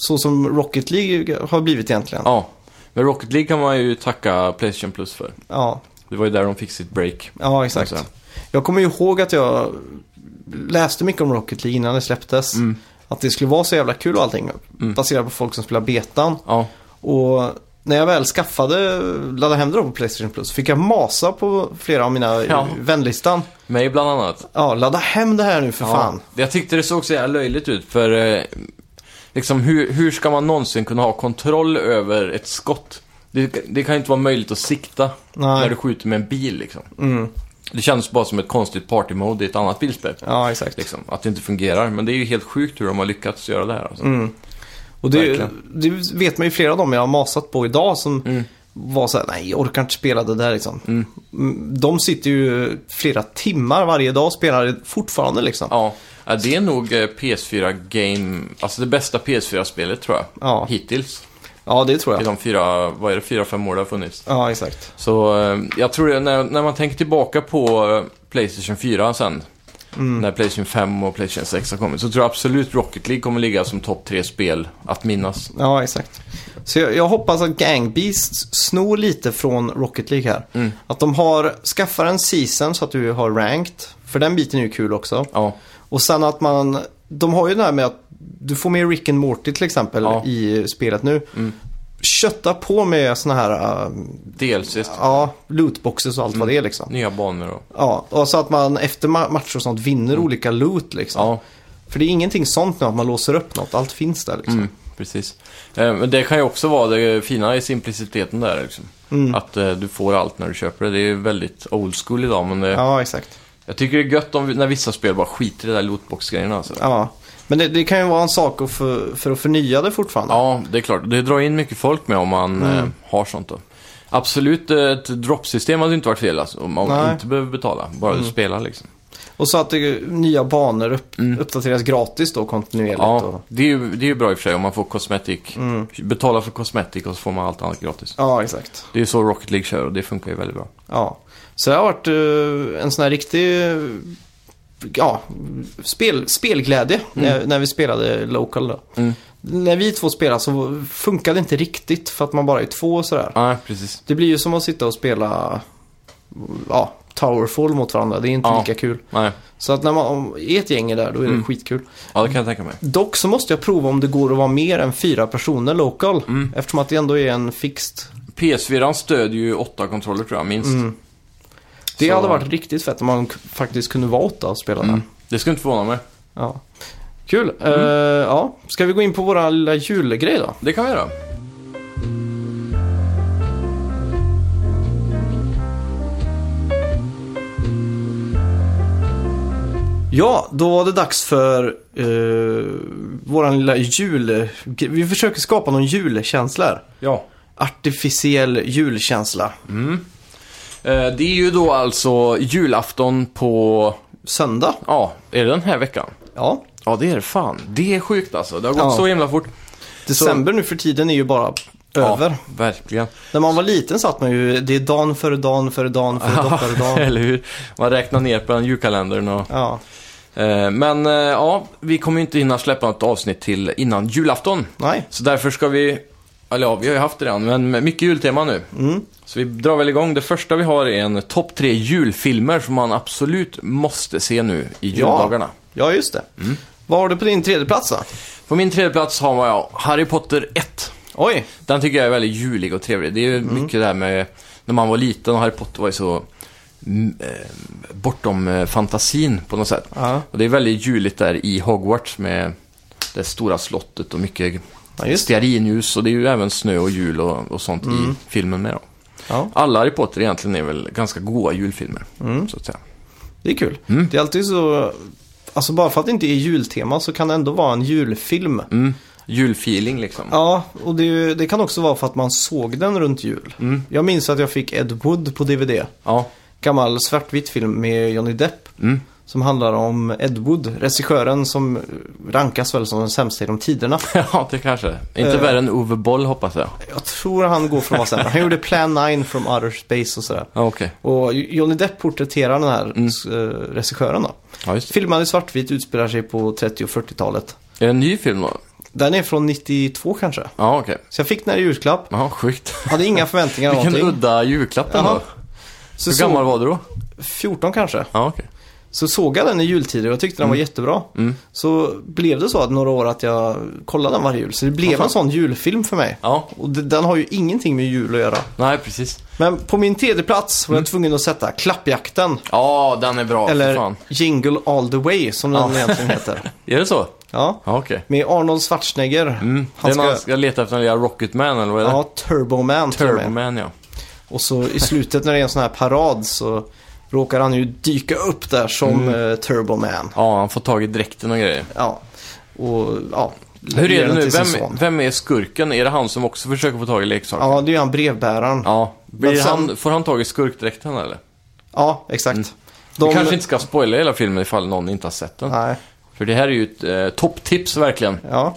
Så som Rocket League har blivit egentligen. Ja. Ja, men Rocket League kan man ju tacka Playstation Plus för. Ja, Det var ju där de fick sitt break. exakt. Exakt. Jag kommer ju ihåg att jag läste mycket om Rocket League innan det släpptes. Att det skulle vara så jävla kul och allting. Baserat på folk som spelar betan. Ja, Och när jag väl skaffade, laddade hem det då på Playstation Plus, fick jag masa på flera av mina Ja. vänlistan. mig bland annat. Ja, ladda hem det här nu för fan. Ja, jag tyckte det såg så jävla löjligt ut för... Eh, liksom hur, hur ska man någonsin kunna ha kontroll över ett skott? Det, det kan ju inte vara möjligt att sikta Nej. Mm. när du skjuter med en bil liksom. Det kändes bara som ett konstigt party-mode i ett annat bilspel. Ja, exakt. Liksom, att det inte fungerar. Men det är ju helt sjukt hur de har lyckats göra det här. Alltså. Mm. Och det, Verkligen. Mm. det vet man ju flera av dem jag har masat på idag som var så här, nej jag orkar inte spela det där liksom. Mm, De sitter ju flera timmar varje dag och spelar det fortfarande liksom. Ja, Ja. Ja, det är nog eh, PS4 Game, alltså det bästa PS4-spelet tror jag. Ja. Hittills. det tror I jag. de fyra, vad är det, fyra, fem år det har funnits. Ja, exakt. Så eh, jag tror det, när, när man tänker tillbaka på eh, Playstation 4 sen, Mm. när Playstation 5 och Playstation 6 har kommit, så tror jag absolut Rocket League kommer ligga som topp tre spel att minnas. Ja, exakt. Så jag, jag hoppas att Gang Beasts snor lite från Rocket League här. Mm. Att de har, skaffar en season så att du har ranked. För den biten är ju kul också. Ja, Och sen att man, de har ju det här med att du får med Rick and Morty till exempel Ja. Mm. i spelet nu. Kötta på med såna här äh, dels ja, lootboxes och allt Mm. vad det är liksom. nya banor och... Ja, och så att man efter ma- matcher och sånt vinner olika loot liksom. Mm. Ja, För det är ingenting sånt nu att man låser upp något, allt finns där liksom. mm. precis. Eh, Men det kan ju också vara det fina i simpliciteten där liksom. Mm. Att eh, du får allt när du köper det. Det är ju väldigt old school idag, men eh, Ja, exakt. jag tycker det är gött om, vi- när vissa spel bara skiter i det där lootbox-grejerna alltså. Ja. Men det, det kan ju vara en sak att för, för att förnya det fortfarande. Ja, det är klart. Det drar in mycket folk med om man eh, har sånt då. Absolut, eh, ett droppsystem hade ju inte varit fel alltså, om man Nej. inte behöver betala. Bara du spelar liksom. Och så att det, nya banor upp, uppdateras gratis då kontinuerligt. Mm. Ja, Och, det är, ju, det är ju bra i och för sig om man får kosmetik. Betala för kosmetik och så får man allt annat gratis. ja, exakt. Det är ju så Rocket League kör och det funkar ju väldigt bra. Ja. Så det har varit eh, en sån här riktig eh, ja, spel, spelglädje när, när vi spelade Local då. Mm. När vi två spelade så funkade det inte riktigt för att man bara är två och sådär. Nej, precis. Det blir ju som att sitta och spela ja, Towerfall mot varandra. Det är inte Ja. Mm. lika kul. Nej, Så att när man om- är ett gäng är där, då är det skitkul. ja det kan jag tänka mig. Dock så måste jag prova om det går att vara mer än fyra personer local. Eftersom att det ändå är en fixed. PS4 stödjer ju åtta kontroller tror jag, minst. Det Så- hade varit riktigt fett om man k- faktiskt kunde vara åtta och spela där. Det skulle inte förvåna mig. Ja. Kul. Eh, ja. Ska vi gå in på våra lilla julgrej då? Det kan vi göra. Ja, då var det dags för eh, våran lilla jul... Vi försöker skapa någon julkänsla här. Ja. Artificiell julkänsla. Eh, Det är ju då alltså julafton på, Söndag? ja, är det den här veckan? Ja. Ja, det är det fan. Det är sjukt alltså. Det har gått Ja. så himla fort. December nu för tiden är ju bara över. Ja, verkligen. När man var liten satt man ju, det är dan före dan före dan före dag [laughs] före dan. Eller hur? Man räknar ner på den julkalendern och... Ja, Eh, Men eh, ja, vi kommer ju inte hinna släppa något avsnitt till innan julafton. nej. Så därför ska vi, eller ja, vi har ju haft det redan, men med mycket jultema nu. Mm. Så vi drar väl igång. Det första vi har är en topp tre julfilmer som man absolut måste se nu i juldagarna. Ja, just det. Vad har du på din tredje plats då? På min tredje plats har jag Harry Potter 1. Oj, Den tycker jag är väldigt julig och trevlig. Det är ju Mm. mycket det här med när man var liten och Harry Potter var ju så mm, eh, bortom eh, fantasin på något sätt. Ja. Och det är väldigt juligt där i Hogwarts med det stora slottet och Ja, mycket just det. Mm. stearinljus och det är ju även snö och jul och, och sånt i filmen med då. Ja. Alla Harry Potter egentligen är väl ganska goa julfilmer, Mm. så att säga. det är kul. Det är alltid så, alltså bara för att det inte är jultema så kan det ändå vara en julfilm. Mm. Julfeeling liksom. Ja, och det, är ju- det kan också vara för att man såg den runt jul. Jag minns att jag fick Ed Wood på DVD. Ja. Gammal svartvitt film med Johnny Depp. Mm. [laughs] Som handlar om Ed Wood, regissören som eh, rankas väl som den sämsta genom tiderna. ja, det kanske. Inte Eh. värre än Ove Boll hoppas jag. Jag tror han går från vad sämre. Han gjorde Plan 9 from Outer Space och sådär. Ja, okej. Och Johnny Depp porträtterar den här Mm. eh, regissören då. Ja, just det. Filmad i svartvitt utspelar sig på 30 och 40-talet. Är det en ny film då? Den är från 92 kanske. Ja, okej. Så jag fick den här i julklapp. Ja, sjukt. Hade inga förväntningar eller [laughs] Vilken någonting. udda julklapp Jaha. ändå. Så Hur så- gammal var du då? 14 kanske. Ja, okej. Så såg jag den i jultider och jag tyckte den var Mm. jättebra. Så blev det så att några år att jag kollade den varje jul. Så det blev fan. en sån julfilm för mig. Ja, Och d- den har ju ingenting med jul att göra. nej precis. Men på min tredje plats var Mm. jag tvungen att sätta Klappjakten. Ja, den är bra. för eller fan. Jingle All The Way som den Ja. egentligen [laughs] heter. Är det så? Ja. Ja, okej. Med Arnold Schwarzenegger. Mm. Han Den ska... han ska leta efter den lilla Rocketman, eller vad är det? Ja, Turboman till och med. Turboman, ja. Och så i slutet när det är en sån här parad så råkar han ju dyka upp där som Mm. eh, Turboman. Ja, han får tag i dräkten och grejer. Ja. Och ja. Hur ger är det den nu? till sin Vem, son. vem är skurken? Är det han som också försöker få tag i leksaker? Ja, det är ju han brevbäraren. Ja, Ja. Blir Men sen- han, får han tag i skurkdräkten eller? exakt. Vi Mm. kanske inte ska spoila hela filmen ifall någon inte har sett den. Nej, För det här är ju ett eh, topptips verkligen. ja.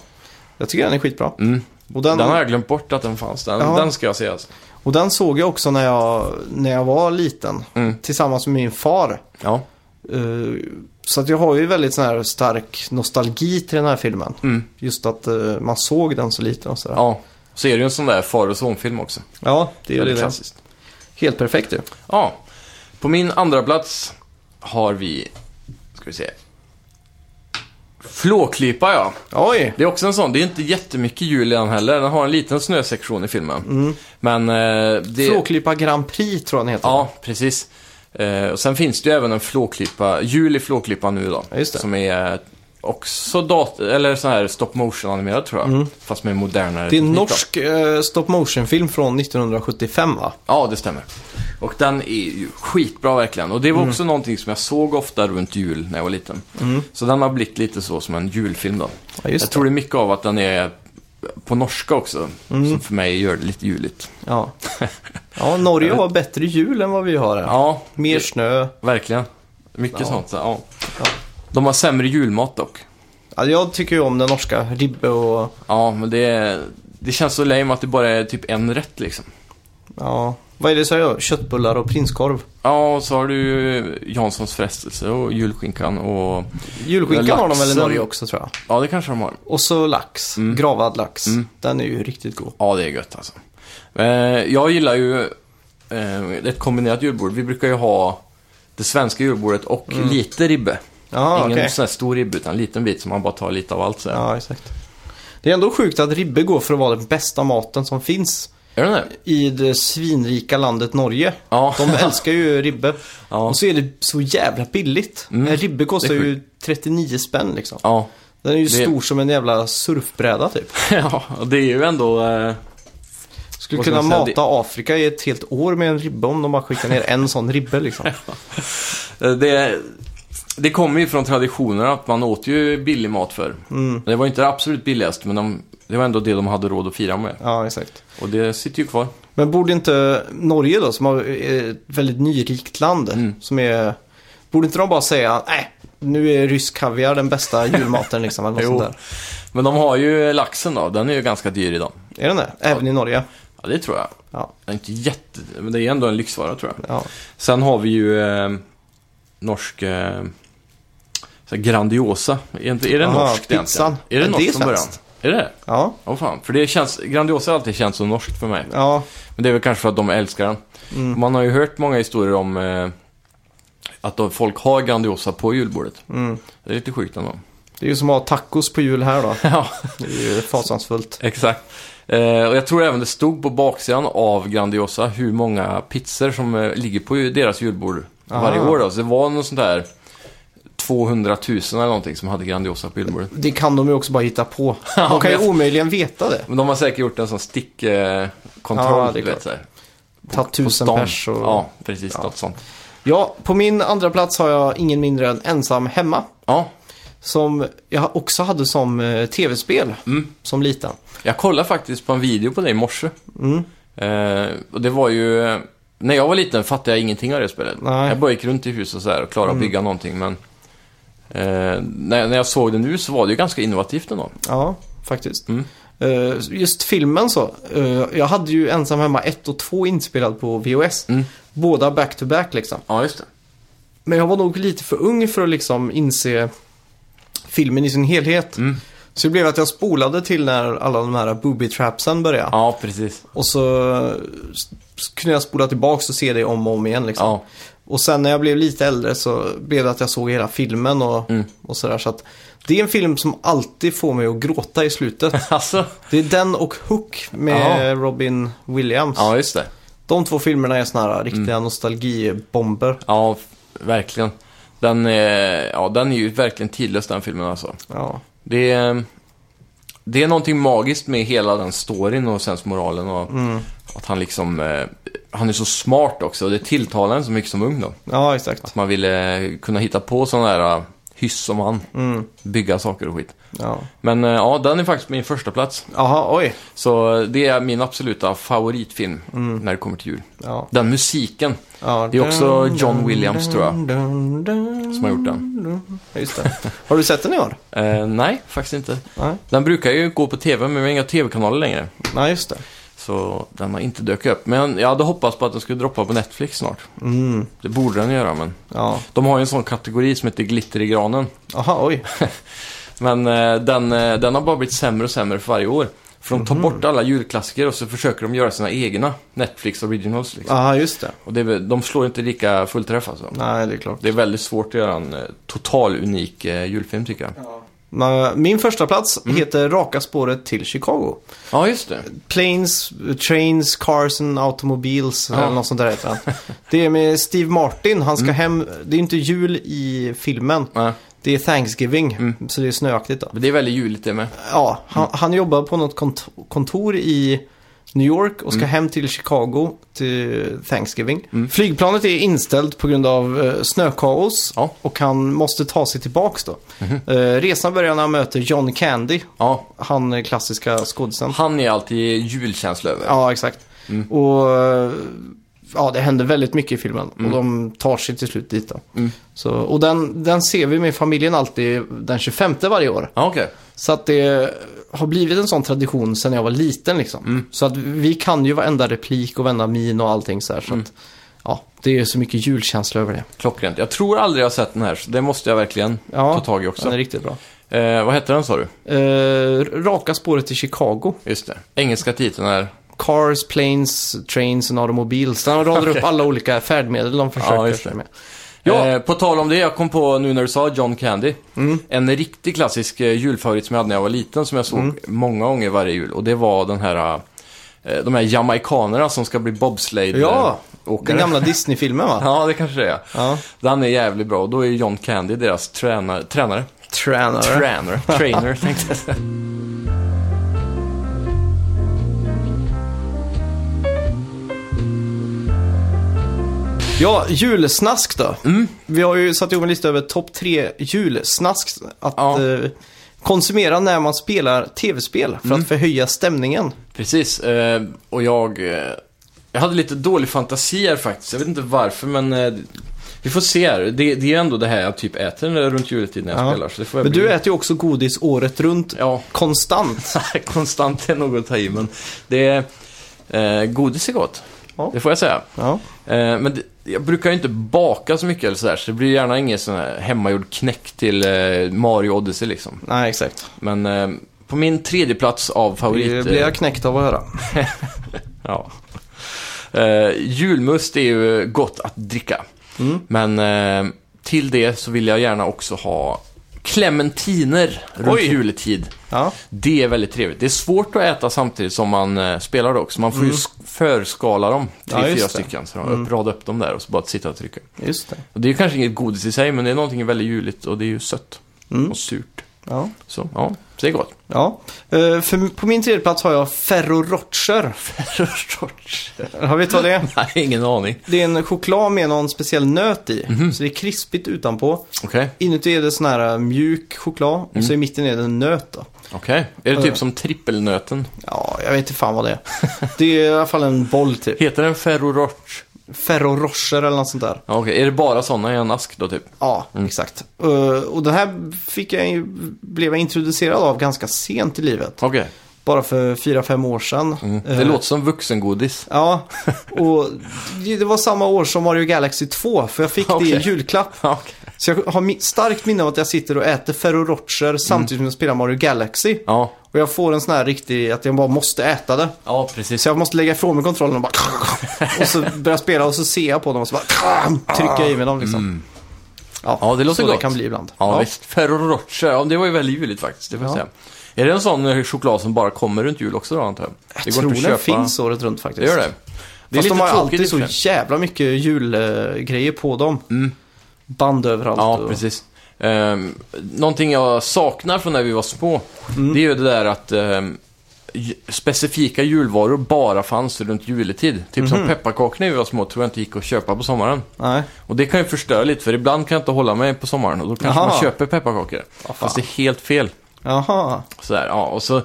Jag tycker den är skitbra. Mm. Och den, Den har jag glömt bort att den fanns. Den, Ja. den ska jag se alltså. och den såg jag också när jag, när jag var liten. Mm. Tillsammans med min far. Ja. Eh, så att jag har ju väldigt sån här stark nostalgi till den här filmen. Mm. Just att eh, man såg den så liten och sådär. ja. Så är det ju en sån där far och sonfilm också. Ja, det är ju Väldigt det. klassiskt. Helt perfekt ju. Ja. På min andra plats har vi... Ska vi se. Flåklypa ja. Oj! Det är också en sån, det är inte jättemycket jul i den heller. Den har en liten snösektion i filmen. Mm. Men eh, det... Flåklypa Grand Prix tror jag den heter. Ja, precis. Eh, och sen finns det ju även en flåklypa, jul i flåklypa nu då. Ja, just det. Som är eh, också dator, eller sån här stop motion-animerad tror jag. Fast med modernare Mm. Det är en teknik då. norsk eh, stop motion-film från 1975 va? Ja, det stämmer. Och den är ju skitbra verkligen. Och det var Mm. också någonting som jag såg ofta runt jul när jag var liten. Så den har blivit lite så som en julfilm då. Ja, Mm. just jag tror det är mycket av att den är på norska också. Mm. Som för mig gör det lite juligt. [laughs] Ja. ja, Norge har bättre jul än vad vi har här. Ja, Mer det- snö. verkligen. Mycket Ja. sånt. Ja. Ja. De har sämre julmat dock. Ja, jag tycker ju om den norska. Ribbe och... Ja, men det, det känns så lame att det bara är typ en rätt liksom. Ja. Vad är det så jag gör? Köttbullar och prinskorv. Ja, och så har du ju Janssons frestelse och julskinkan och... Julskinkan Lax har de väl i har Norge de. också tror jag. Ja, det kanske de har. Och så lax. Mm. Gravad lax. Den är ju riktigt god. Ja, det är gött alltså. Eh, jag gillar ju eh, ett kombinerat julbord. Vi brukar ju ha det svenska julbordet och lite ribbe. Mm. Ja, Ingen okej. sån här stor ribbe, utan en liten bit som man bara tar lite av allt så här. Ja, exakt. Det är ändå sjukt att ribbe går för att vara den bästa maten som finns Är det det? i det svinrika landet Norge. Ja. De älskar ju ribbe. Ja. Och så är det så jävla billigt. Mm. En ribbe kostar Det är ju 39 spänn liksom. [laughs] Ja. Den är ju Det- stor som en jävla surfbräda typ. ja, och det är ju ändå... Eh, Skulle Vad ska kunna man mata säga? Afrika i ett helt år med en ribba om de bara skickar ner en sån ribbe liksom. [laughs] det, det kommer ju från traditioner att man åt ju billig mat förr. Mm. Det var inte det absolut billigaste, men de, det var ändå det de hade råd att fira med. Ja, exakt. Och det sitter ju kvar. Men borde inte Norge då, som har är ett väldigt nyrikt land, Mm. som är... Borde inte de bara säga, nej, nu är rysk kaviar den [laughs] bästa julmaten liksom, eller något sånt där. Men de har ju laxen då, den är ju ganska dyr idag. Är den det? Även i Norge? Ja, det tror jag. Ja. Den är inte jätte... Men det är ändå en lyxvara tror jag. ja. Sen har vi ju eh, norsk... Eh, så här grandiosa. Är, inte, är det Aha, norskt pizzan. egentligen? Är det Men norskt det är från början? svenskt. Är det det? Ja. Åh fan. För det känns... Grandiosa har alltid känts så norskt för mig. Ja. Men det är väl kanske för att de älskar den. Mm. Man har ju hört många historier om eh, att de, folk har Grandiosa på julbordet. Det är lite sjukt ändå. mm. [laughs] Det är ju som att ha tacos på jul här då. ja, Det [laughs] är ju fasansfullt. exakt. Eh, och jag tror även det stod på baksidan av Grandiosa hur många pizzor som eh, ligger på ju- deras julbord varje Ah. år. Då. Så det var någon sån där 200 000 eller någonting som hade Grandiosa på julbordet. Det kan de ju också bara hitta på. [laughs] Ja, De kan ju men- omöjligen veta det. Men de har säkert gjort en sån stickkontroll. Eh, Ja, det kontroll, är du vet, klart. så här, Tagit på tusen stan. pers och... Ja, precis. Ja. Något sånt. Ja, på min andra plats har jag ingen mindre än Ensam Hemma. Ja, Som jag också hade som eh, tv-spel Mm. som liten. Mm. Jag kollade faktiskt på en video på dig i morse. Eh, och det var ju... eh, När jag var liten fattade jag ingenting av det spelet. Nej. Jag bara gick runt i huset så här och klarade att bygga någonting, men... Eh, när, när jag såg det nu så var det ju ganska innovativt ändå. Ja, faktiskt. Mm. Eh, just filmen så. eh, jag hade ju Ensam Hemma 1 och 2 inspelad på VHS. Mm. Båda back-to-back liksom. Ja, just det. Men jag var nog lite för ung för att liksom inse filmen i sin helhet. Mm. Så det blev att jag spolade till när alla de här booby trapsen började. Ja, precis. [laughs] Och så s- kunde jag spola tillbaka och se det om och om igen liksom. Ja, Och sen när jag blev lite äldre så blev det att jag såg hela filmen och, Mm. och sådär. Så att det är en film som alltid får mig att gråta i slutet. alltså. Det är den och Hook med Robin Williams. Ja, Mm. just det. De två filmerna är såna här riktiga nostalgibomber. Ja, f- verkligen. Den, eh, ja, den är ju verkligen tidlös, den filmen alltså. Ja. Det är, det är någonting magiskt med hela den storyn och sens moralen och att han liksom... eh, Han är så smart också och det tilltalar en så mycket som ung då. ja, exakt. Att man ville eh, kunna hitta på sådana där eh, hyss som han. Bygga saker och skit. Ja. Men eh, ja, den är faktiskt min första plats. Jaha, oj. Så eh, det är min absoluta favoritfilm när det kommer till jul. Ja. Den musiken Ja. Det är också John Williams, tror jag. dun, dun, som har gjort den. dun. Ja, Just det. Har du sett den i år? Eh, nej, faktiskt inte. Nej, Den brukar ju gå på TV, men vi har inga TV-kanaler längre. Nej just det. Så den har inte dök upp. Men jag hade hoppats på att den skulle droppa på Netflix snart. Det borde den göra, men... Mm. Ja. De har ju en sån kategori som heter Glitter i granen. Jaha, oj. Men eh, den, eh, den har bara blivit sämre och sämre för varje år. För de tar bort alla julklassiker och så försöker de göra sina egna Netflix originals. Liksom. Ja, just det. Och det, är väl- de slår inte lika fullträff alltså. Nej, det är klart. Det är väldigt svårt att göra en eh, total unik eh, julfilm tycker jag. Men Min första plats Mm. heter Raka spåret till Chicago. Ja, just det. Planes, Trains, Cars and Automobiles Ja. Mm. eller något sånt där heter han. Det är med Steve Martin, han ska hem, det är inte jul i filmen. Nej. Det är Thanksgiving, Mm. så det är snöaktigt då. Men det är väldigt juligt det med. Ja, han, Mm. han jobbar på något kont- kontor i New York Mm. och ska hem till Chicago till Thanksgiving. Flygplanet är inställt på grund av eh, snökaos Ja. Mhm. och han måste ta sig tillbaks då. Eh, resan börjar när han möter John Candy, Ja, han eh, klassiska skådisen. han är alltid julkänsla över. Ja, exakt. Mm. Och eh, ja, det händer väldigt mycket i filmen Mm. och de tar sig till slut dit då. Så, och den, den ser vi med familjen alltid den 25 varje år. Ja, okej. Så att det har blivit en sån tradition sen jag var liten liksom. Mm. Så att vi kan ju varenda replik och varenda min och allting så här. Mm. Så att, ja, det är så mycket julkänsla över det. Klockrent. Jag tror aldrig jag har sett den här, så det måste jag verkligen Ja, ta tag i Den är också. riktigt bra. Eh, vad hette den sa du? Eh, raka spåret till Chicago. Just det. Engelska titeln är... Cars, planes, trains and automobiles. Den [laughs] radar upp alla olika färdmedel de försöker Ja, just det. sig med. Ja. Ja. Mm. Eh, på tal om det, jag kom på nu när du sa John Candy. En riktig klassisk eh, julfavorit som jag hade när jag var liten som jag såg Mm. många gånger varje jul. Och det var den här, eh, de här jamaikanerna som ska bli bobsleigh Ja, eh, åkare. Den gamla Disney-filmen va? [laughs] Ja, det kanske det är. Ja. Den är jävligt bra och då är John Candy deras tränare. Tränare? Tränare. Tränare. Trainer, tänkte jag säga. Ja, julsnask då. Mm. Vi har ju satt ihop en lista över topp tre julsnask att Ja. eh, konsumera när man spelar tv-spel för Mm. att förhöja stämningen. Precis, eh, och jag... eh, Jag hade lite dålig fantasi här faktiskt. Jag vet inte varför, men... eh, Vi får se här. Det, det är ändå det här jag typ äter när- runt juletid när jag Ja. spelar. Så det får jag Men bli- du äter ju också godis året runt. Ja, [laughs] Konstant. konstant är något att ta i, men det är... Eh, godis är gott. Ja. Det får jag säga. Ja. Eh, men det, jag brukar ju inte baka så mycket eller sådär, så det blir gärna ingen sån här hemmagjord knäck till eh, Mario Odyssey liksom. Nej, exakt. Men eh, på min tredje plats av favorit... Blir, blir eh, jag knäckt av att höra. Ja. Eh, julmust är ju gott att dricka. Mm. Men eh, till det så vill jag gärna också ha clementiner runt Oj. juletid. Ja. Det är väldigt trevligt. Det är svårt att äta samtidigt som man eh, spelar dock, så man får ju sk- förskala dem. Tre, Mm. Ja, just fyra det. Mm. stycken. Så de rada upp dem där och så bara sitta och trycka. Just det. Och det är ju kanske inget godis i sig, men det är någonting väldigt juligt och det är ju sött Mm. och surt. Ja. Så, ja. Så det [laughs] är gott. ja. Eh, för, på min tredje plats har jag Ferrero [laughs] Rocher. Har vi tagit det? Nej, ingen aning. Det är en choklad med någon speciell nöt i. Mhm. Så det är krispigt utanpå. Okej, Inuti är det sån här eh, mjuk choklad och Mm. så i mitten är det en nöt då. okej. Är det Eh. typ som trippelnöten? Ja, jag vet inte fan vad det är. [laughs] Det är i alla fall en boll typ. Heter den Ferrero Rocher? Ferrero Rocher eller något sånt där. Ja, okej. Är det bara sådana i en ask då, typ? Ja, exakt. Eh, och det här fick jag, ju- blev jag introducerad av ganska sent i livet. Okej. Bara för 4-5 år sedan. Mm. Det Eh, låter som vuxengodis. [laughs] Ja, och det det var samma år som Mario Galaxy 2, för jag fick det Okej. i julklapp. Ja, okej. Så jag har mi- starkt minne av att jag sitter och äter Ferrero Rocher Mm. samtidigt som jag spelar Mario Galaxy. Ja. Och jag får en sån här riktig, att jag bara måste äta det. ja, precis. Så jag måste lägga ifrån mig kontrollen och bara... Och så börjar jag spela och så ser jag på dem och så bara... Trycker jag i mig dem liksom. Mm. Ja, det låter så gott. det kan bli ibland. Ja, visst. Ferrero Rocher. Ja, det var ju väldigt juligt faktiskt, det får jag Ja. säga. Är det en sån eh, choklad som bara kommer runt jul också då, antar jag? Det Jag tror den finns året runt Det faktiskt. gör det. Det är Fast de lite har tråkigt i alltid och för så sig. jävla mycket julgrejer på dem. Band överallt. Mm. Ja, och... precis. Ehm, någonting jag saknar från när vi var små, Mm. det är ju det där att ehm, ju- specifika julvaror bara fanns runt juletid. Typ Mhm. som pepparkakor när vi var små tror jag inte gick att köpa på sommaren. Nej. Och det kan ju förstöra lite, för ibland kan jag inte hålla mig på sommaren och då kanske Jaha. man köper pepparkakor. fan. Fast det är helt fel. Jaha. Sådär, ja, och så,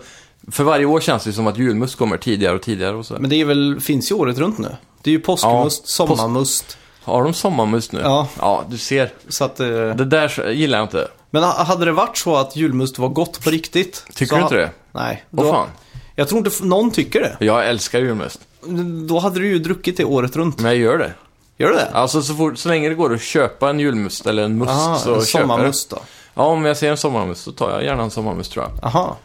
för varje år känns det som att julmust kommer tidigare och tidigare och sådär. Men det är väl, finns ju året runt nu. Det är ju påskmust, Ja, sommarmust. Har de sommarmust nu? Ja. ja, du ser. Så att, eh, Det där så- gillar jag inte. men ha- hade det varit så att julmust var gott på riktigt. Tycker så du ha- inte det? Nej. Vad fan? Jag tror inte f- någon tycker det. Jag älskar julmust. Då hade du ju druckit det året runt. Men jag gör det. Gör du det? Alltså så, fort, så länge det går att köpa en julmust eller en must Aha, Ah, så en köper jag det. sommarmust då. Ja, om jag ser en sommarmust så tar jag gärna en sommarmust tror jag. [laughs] Aha.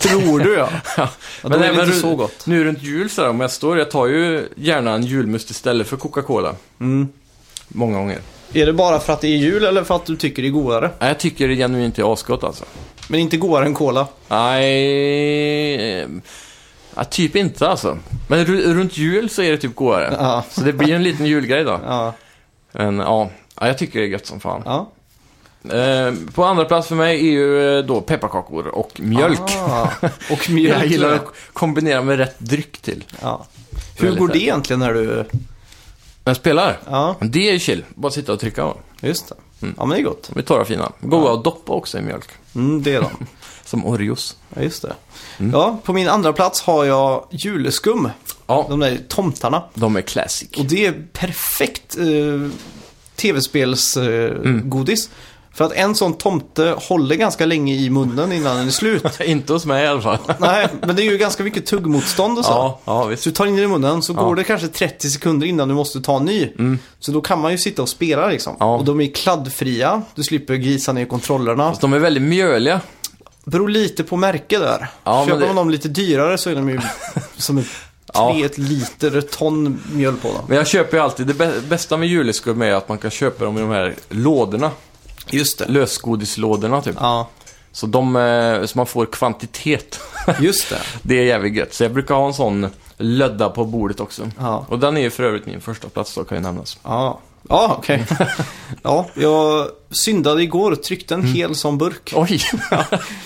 Tror du ja. Ja, Ja, då är det inte ru- så gott. Nu runt jul så här, om jag står, jag tar ju gärna en julmust istället för Coca-Cola. Mm. Många gånger. [laughs] Är det bara för att det är jul eller för att du tycker det är godare? Nej, jag tycker det genuint är asgott alltså. Men inte godare än cola. Nej, eh, ja, typ inte alltså. Men ru- runt jul så är det typ godare. Ja. Så det blir en liten julgrej då. Ja. Men ja, ja jag tycker det är gött som fan. ja. Eh, på andra plats för mig är ju eh, då pepparkakor och mjölk. Ah, och mjölk. [laughs] jag gillar att kombinera med rätt dryck till. Ja. Hur går det egentligen när du... När jag spelar? Ja, Det är chill. Bara sitta och trycka. va. just det. Mm. Ja, men det är gott. De är torra och fina. Goda att doppa också i mjölk. Mm, det är de. Som Oreos. Ja, just det. Mm. Ja, på min andra plats har jag juleskum. Ja, De där tomtarna. de är classic. Och det är perfekt eh, tv-spelsgodis. Eh, godis. Mm. För att en sån tomte håller ganska länge i munnen innan den är [laughs] slut. Inte hos mig i alla [laughs] fall. Nej, men det är ju ganska mycket tuggmotstånd och så. Ja, ja Så visst. du tar in den i munnen så Ja. Mm. går det kanske 30 sekunder innan du måste ta en ny. Så då kan man ju sitta och spela liksom. Ja. Och de är kladdfria. Du slipper grisa ner kontrollerna. Fast de är väldigt mjöliga. Beror lite på märke där. Ja, men Köper det- man dem lite dyrare så är [laughs] de ju som ett Ja. tre liter ton mjöl på dem. Men jag köper ju alltid, det bä- bästa med juleskum är att man kan köpa dem i de här lådorna. Just det. Lösgodislådorna typ. Ja, Så, de, eh, så man får kvantitet. [laughs] just det. det är jävligt gött. Så jag brukar ha en sån lödda på bordet också. Ja, Och den är ju för övrigt min första plats då kan ju nämnas. ja. ja okej. [laughs] ja, jag syndade igår och tryckte en Mm. hel sån burk. [laughs] Oj!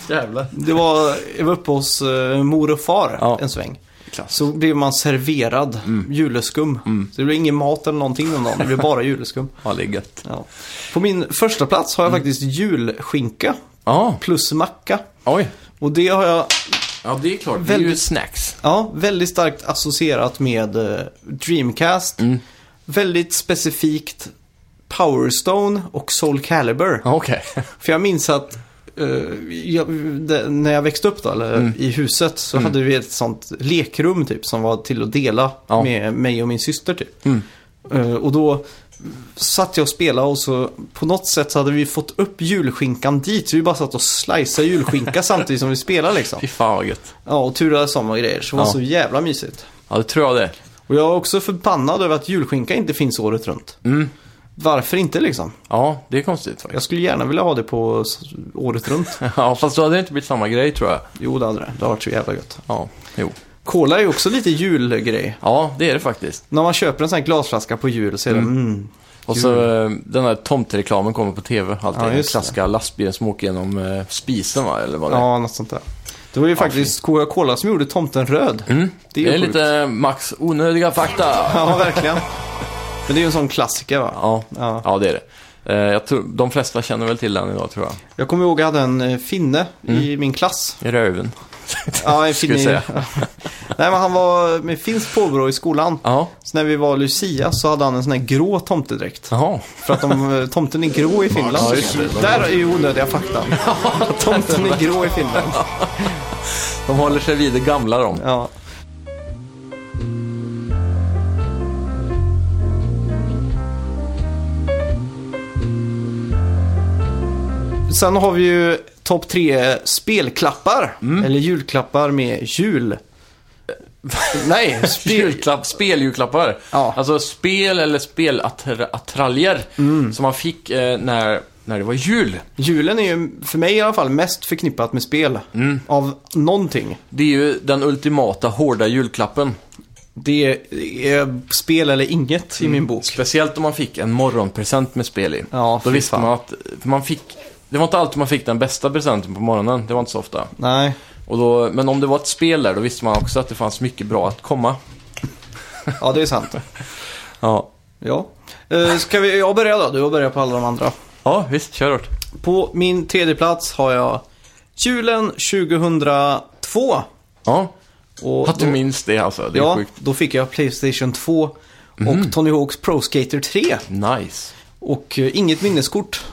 Jävlar. Det var, jag var uppe hos eh, mor och far Ja. en sväng. Klass. Mm. Så blev man serverad juleskum. Så det blev ingen mat eller någonting den dagen. Det blev bara juleskum. [laughs] Ja, Mm. det är gött. Ja. På min första plats har jag faktiskt julskinka Ja, plus macka. oj. Och det har jag Ja, det är klart. Det är ju Väldigt- snacks. ja, väldigt starkt associerat med eh, Dreamcast. Mm. Väldigt specifikt Powerstone och Soul Calibur. Okej. [laughs] För jag minns att eh, jag, det, när jag växte upp då, eller Mm. i huset, så hade vi ett sånt lekrum typ som var till att dela Ja. med mig och min syster typ. Mm. Eh, och då satt jag och spelade och så på något sätt så hade vi fått upp julskinkan dit. Så vi bara satt och sliceade [laughs] julskinka samtidigt som vi spelade liksom. Fy fan vad gött. Ja, och turades om och grejer. Så det var Ja. så jävla mysigt. Ja, det tror jag det. Och jag är också förbannad över att julskinka inte finns året runt. Mm. Varför inte liksom? Ja, det är konstigt faktiskt. Jag skulle gärna vilja ha det på s- året runt. [laughs] Ja, fast då hade det inte blivit samma grej tror jag. Jo, det hade det. Det har varit så jävla gött. Ja, jo. Cola är ju också lite julgrej. Ja, det är det faktiskt. När man köper en sån här glasflaska på jul så är det mm. Och så eh, den här tomtereklamen kommer på tv. Alltid Ja, den just det. klassiska lastbilen som åker genom eh, spisen va, eller vad det är. Ja, något sånt där. Det var ju faktiskt Coca-Cola som gjorde tomten röd. Mm. Det Det är är, ju sjukt. lite Max onödiga fakta. [laughs] Ja, verkligen. Men det är ju en sån klassiker va? Ja, Ja. ja det är det. Eh, jag tror, de flesta känner väl till den idag tror jag. Jag kommer ihåg jag hade en eh, finne i min klass. I röven. Ja, [laughs] en finne. Skulle i- Mm. säga. [laughs] Nej, men han var med finskt påbrå i skolan. Ja, Så när vi var Lucia så hade han en sån här grå tomtedräkt. jaha. För att de, eh, tomten är grå i Finland. Ja, just det. Där är ju onödiga [laughs] fakta. Tomten är grå i Finland. De håller sig vid det gamla de. Ja. Sen har vi ju topp tre spelklappar. Eller julklappar med jul. Nej, spel... Julklapp, speljulklappar. Ja. Alltså spel eller spelattraljer Mm. som man fick eh, när, när det var jul. julen är ju för mig i alla fall mest förknippat med spel. Av någonting. Det är ju den ultimata hårda julklappen. Det är spel eller inget i min bok. Speciellt om man fick en morgonpresent med spel i. Ja, Då fy visste fan. man att för man fick... Det var inte alltid man fick den bästa presenten på morgonen. Det var inte så ofta. Nej. Och då, men om det var ett spel där, då visste man också att det fanns mycket bra att komma. Ja, det är sant. Ja, Ja. Eh, Ska vi, jag börjar då? Du börjar på alla de andra. ja visst. Kör hårt. På min tredje plats har jag julen 2002. Ja, Och att du minns det alltså. Det är ja, sjukt. Mhm. då fick jag Playstation 2 och Tony Hawks Pro Skater 3. Nice. Och eh, inget minneskort.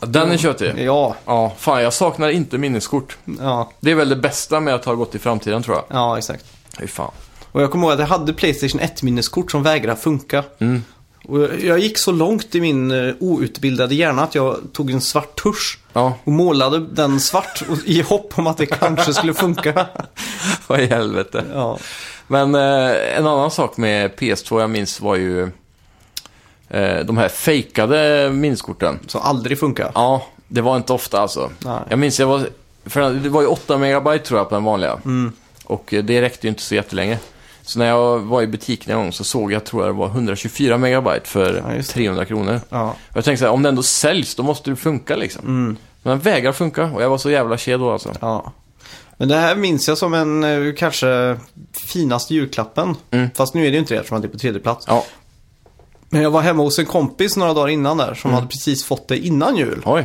Den är tjötig. Ja, Ja, fan jag saknar inte minneskort. ja, Det är väl det bästa med att ha gått i framtiden tror jag. ja exakt. Fy fan. Och jag kommer ihåg att jag hade Playstation 1-minneskort som vägrade funka. Mm. Och jag- jag gick så långt i min eh, outbildade hjärna att jag tog en svart tusch Ja, och målade den svart och- i hopp om att det kanske skulle [laughs] funka. [laughs] vad i helvete. Ja. Men eh, en annan sak med PS2 jag minns var ju eh, de här fejkade minneskorten. Så aldrig funkar. Ja, det var inte ofta alltså. Nej. Jag minns, jag Mm. var, för det var ju 8 megabyte tror jag på den vanliga. Och eh, det räckte ju inte så jättelänge. Så när jag var i butiken en gång så såg jag, tror jag det var 124 megabyte för Ja, just det. 300 kronor. Ja. Och jag tänkte så här, om den ändå säljs, då måste det funka liksom. Mm. Men den vägrar funka och jag var så jävla kedå då alltså. ja. Men det här minns jag som en eh, kanske finaste julklappen. Mm. Fast nu är det ju inte det eftersom att det är på tredje plats. Ja, Men jag var hemma hos en kompis några dagar innan där Mm. som hade precis fått det innan jul. oj.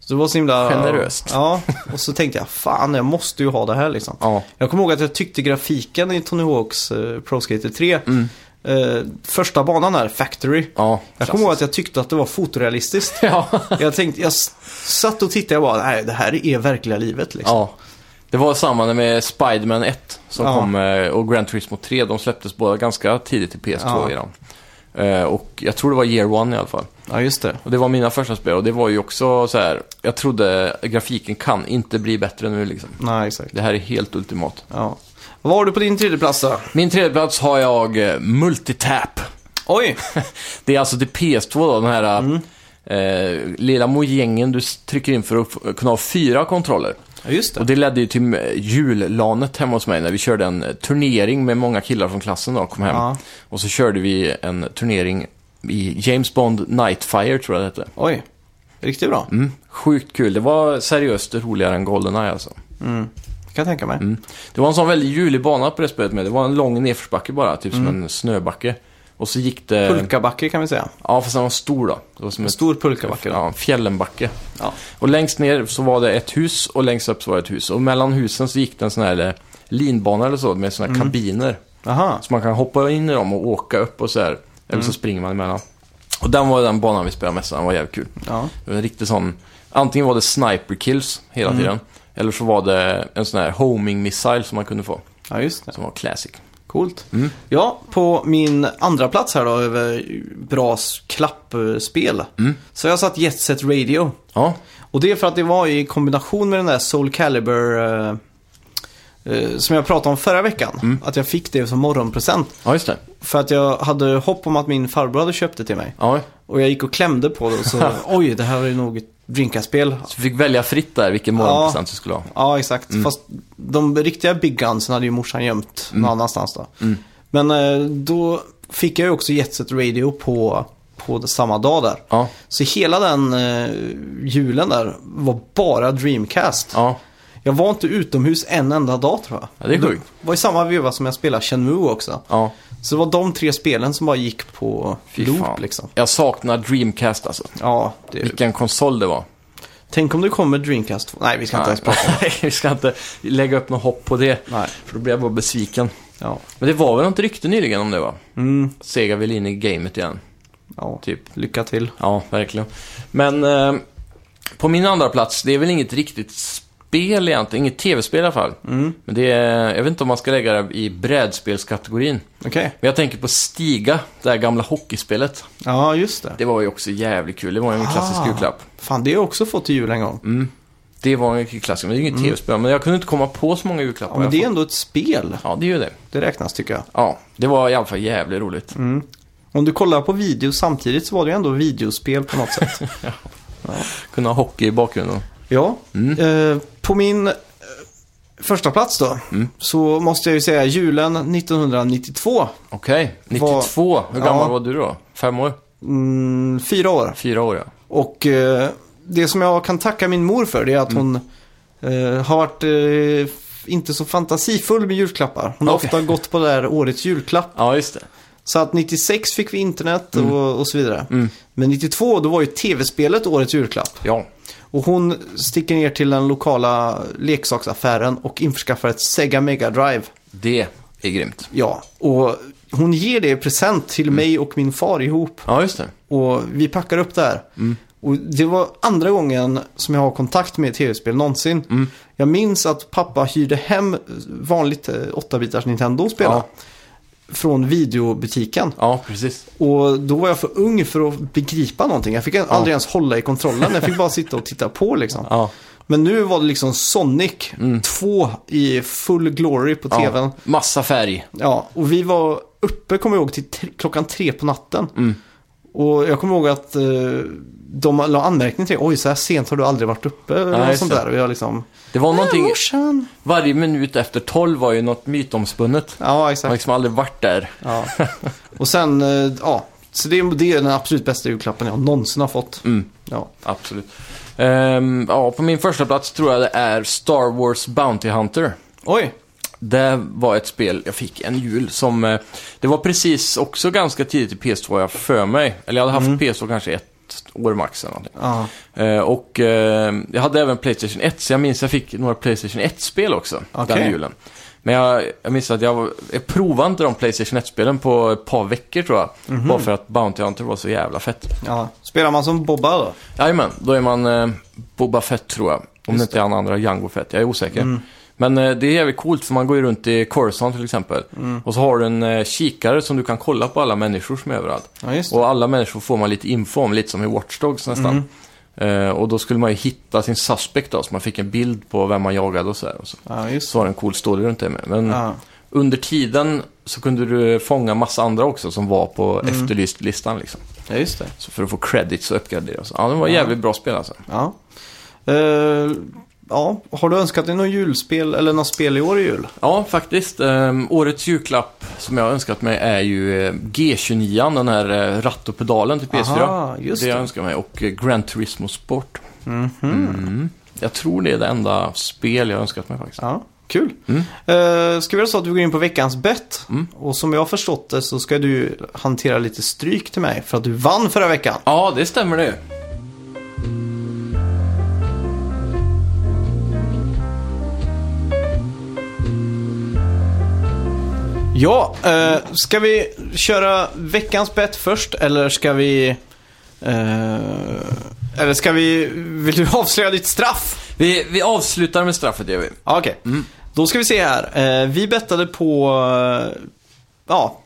Så det var så himla... Generöst. Ja, och så tänkte jag fan jag måste ju ha det här liksom. Ja, Jag kommer ihåg att jag tyckte grafiken i Tony Hawks eh, Pro Skater 3, Mm. eh, första banan här, Factory. ja. Jag kommer ihåg att jag tyckte att det var fotorealistiskt. Ja. Jag tänkte, jag s- satt och tittade och bara, nej det här är verkliga livet liksom. ja. Det var samma med Spiderman 1 som Ja. kom eh, och Gran Turismo 3. De släpptes båda ganska tidigt till PS2 Ja. redan. Eh, Och jag tror det var year one i alla fall. Ja, just det. Och det var mina första spel och det var ju också så här. Jag trodde grafiken kan inte bli bättre nu liksom. Nej, exakt. Det här är helt ultimat. Ja. Vad har du på din tredje plats då? Min tredje plats har jag eh, Multitap. [laughs] Oj! Det är alltså till PS2 då, den här Mm. eh, lilla mojängen du s- trycker in för att f- kunna ha fyra kontroller. Ja, just Och det. det ledde ju till eh, jullanet hemma hos mig när vi körde en eh, turnering med många killar från klassen då och kom hem. Ja. Och så körde vi en turnering i James Bond Nightfire tror jag det hette. Oj. Riktigt bra. Mm, sjukt kul. Det var seriöst roligare än Goldeneye alltså. Mm. Kan jag tänka mig. Det var en sån väldigt julig bana på det spelet med. Det var en lång nedförsbacke bara, typ som en snöbacke. Och så gick det... Pulkabacke kan vi säga. Ja, fast den var stor då. Det var som En ett- stor pulkabacke då. Ja, en fjällenbacke. Ja. Och längst ner så var det ett hus och längst upp så var det ett hus. Och mellan husen så gick det en sån här eh, linbana eller så med såna här kabiner. Aha. Så man kan hoppa in i dem och åka upp och så här. Eller så springer man emellan. Och den var den banan vi spelade mest, den var jävligt kul. Ja. Det var en riktig sån... Antingen var det sniper kills hela tiden. Eller så var det en sån här homing missile som man kunde få. ja, just det. Som var classic. Coolt. Ja, på min andra plats här då över bra s- klappspel. Så jag har satt Jet Set Radio. Ja, Och det är för att det var i kombination med den där Soul Calibur eh, eh, som jag pratade om förra veckan. Att jag fick det som morgonpresent. ja just det. För att jag hade hopp om att min farbror hade köpt det till mig. Ja. Och jag gick och klämde på det och så oj, det här var ju nog ett drinkaspel. Så du fick välja fritt där vilken morgonpresent du skulle ha. Ja, exakt. Fast de riktiga big gunsen hade ju morsan gömt någon annanstans då. Men eh, då fick jag ju också Jet Set Radio på, på det- samma dag där. Ja, Så hela den eh, julen där var bara Dreamcast. ja. Jag var inte utomhus en enda dag tror jag. Ja, det är sjukt. Det var i samma veva som jag spelade Shenmue också. ja. Så det var de tre spelen som bara gick på Fy loop fan. liksom. Jag saknar Dreamcast alltså. Ja, det är... Vilken konsol det var. Tänk om det kommer Dreamcast 2. Nej, vi ska inte ens prata. [laughs] Nej, vi ska inte lägga upp något hopp på det. Nej. För då blir jag bara besviken. Ja, Men det var väl något rykte nyligen om det va? mm, Sega vill in i gamet igen. ja. Typ. lycka till. Ja, verkligen. Men eh, på min andra plats, det är väl inget riktigt spel egentligen. Inget tv-spel i alla fall. Mm. Men det är, jag vet inte om man ska lägga det i brädspelskategorin. Okej, Men jag tänker på Stiga, det här gamla hockeyspelet. ja just det. Det var ju också jävligt kul. Det var ju en klassisk Ah. julklapp. Fan, det har jag också fååt till jul en gång. Mm. Det var en klassiker, men det är inget tv-spel. Men jag kunde inte komma på så många julklappar. Mm. Ja, men jag det är fått. ändå ett spel. Ja, det är ju det. Det räknas tycker jag. Ja, det var i alla fall jävligt roligt. Mm. Om du kollar på video samtidigt så var det ju ändå videospel på något sätt. [laughs] Kunna ha hockey i bakgrunden. Ja, Mm. eh, på min eh, första plats då Mm. så måste jag ju säga julen 1992. Okej, 92. Hur Ja. gammal var du då? Fem år? Mm, fyra år. Fyra år, ja. Och eh, det som jag kan tacka min mor för det är att Mm. hon eh, har varit eh, f- inte så fantasifull med julklappar. Hon har Okej. ofta gått på det här årets julklapp. Ja, just det. Så att 96 fick vi internet och, och så vidare. Men 92 då var ju tv-spelet årets julklapp. Ja. Och hon sticker ner till den lokala leksaksaffären och införskaffar ett Sega Mega Drive. Det är grymt. Ja, och hon ger det i present till mig och min far ihop. Ja, just det. Och vi packar upp det här. Och det var andra gången som jag har kontakt med tv-spel någonsin. Jag minns att pappa hyrde hem vanligt eh, 8-bitars Nintendo att spela. Ja. Från videobutiken. Ja, precis. Och då var jag för ung för att begripa någonting. Jag fick aldrig ens hålla i kontrollen. Jag fick bara sitta och titta på liksom. Ja. Mm. Men nu var det liksom Sonic 2 i full glory på tvn. ja. Massa färg. Ja, och vi var Mm. uppe, kommer jag ihåg, till tre, klockan tre på natten. Och jag kommer ihåg att eh, de la anmärkning till Oj, så här sent har du aldrig varit uppe. eller Nej, något just sånt det. där. Och jag liksom... Det var någonting, Morsan! varje minut efter 12 var ju något mytomspunnet. Ja, Man har exakt. liksom aldrig varit där. Ja. Och sen, eh, ja. Så det, är- det är den absolut bästa julklappen jag någonsin har fått. Mm. Ja. Absolut. Ehm, ja, på min första plats tror jag det är Star Wars Bounty Hunter. Oj! Det var ett spel jag fick en jul som... eh, Det var precis också ganska tidigt i PS2 jag för mig. Eller jag hade haft PS2 kanske ett år max eller någonting. Mm. Ja. Eh, och eh, jag hade även Playstation 1 så jag minns jag fick några Playstation 1-spel också Okej. den julen. Men jag, jag minns att jag, var- jag provade inte de Playstation 1-spelen på ett par veckor tror jag. Mhm. Bara för att Bounty Hunter var så jävla fett. ja. Spelar man som Bobba då? Jajamän, då är man eh, Boba Fett tror jag. Om det inte är han andra Jango Fett, jag är osäker. Mm. Men eh, det är jävligt coolt för man går ju runt i Coruscant till exempel. Mm. Och så har du en eh, kikare som du kan kolla på alla människor som är överallt. Ja, just det. Och alla människor får man lite info om, lite som i Watch Dogs nästan. Mm. Eh, och då skulle man ju hitta sin suspect då, så man fick en bild på vem man jagade och så här. Och så. Ja, just så var det en cool story runt det med. Men Ja. under tiden så kunde du fånga massa andra också som var på Mm. efterlyst-listan liksom. ja, just det. Så för att få credits och uppgraderas. Ja, det var ett jävligt bra spel alltså. Ja. Eh, ja. Har du önskat dig något julspel eller något spel i år i jul? Ja, faktiskt. Ehm, årets julklapp som jag har önskat mig är ju eh, G29, den här eh, ratt och pedalen till PS4. Aha, just det jag det. önskar mig. Och eh, Gran Turismo Sport. Mhm. Mm. Jag tror det är det enda spel jag har önskat mig faktiskt. Ja, kul. Mm. Eh, ska vi göra så att vi går in på veckans bett? Mm. Och som jag har förstått det så ska du hantera lite stryk till mig för att du vann förra veckan. Ja, det stämmer det. Ja, eh, ska vi köra veckans bett först eller ska vi... eh, eller ska vi... Vill du avslöja ditt straff? Vi, vi avslutar med straffet, gör vi. Ja, Okej, Mm. då ska vi se här. Eh, vi bettade på... eh, ja.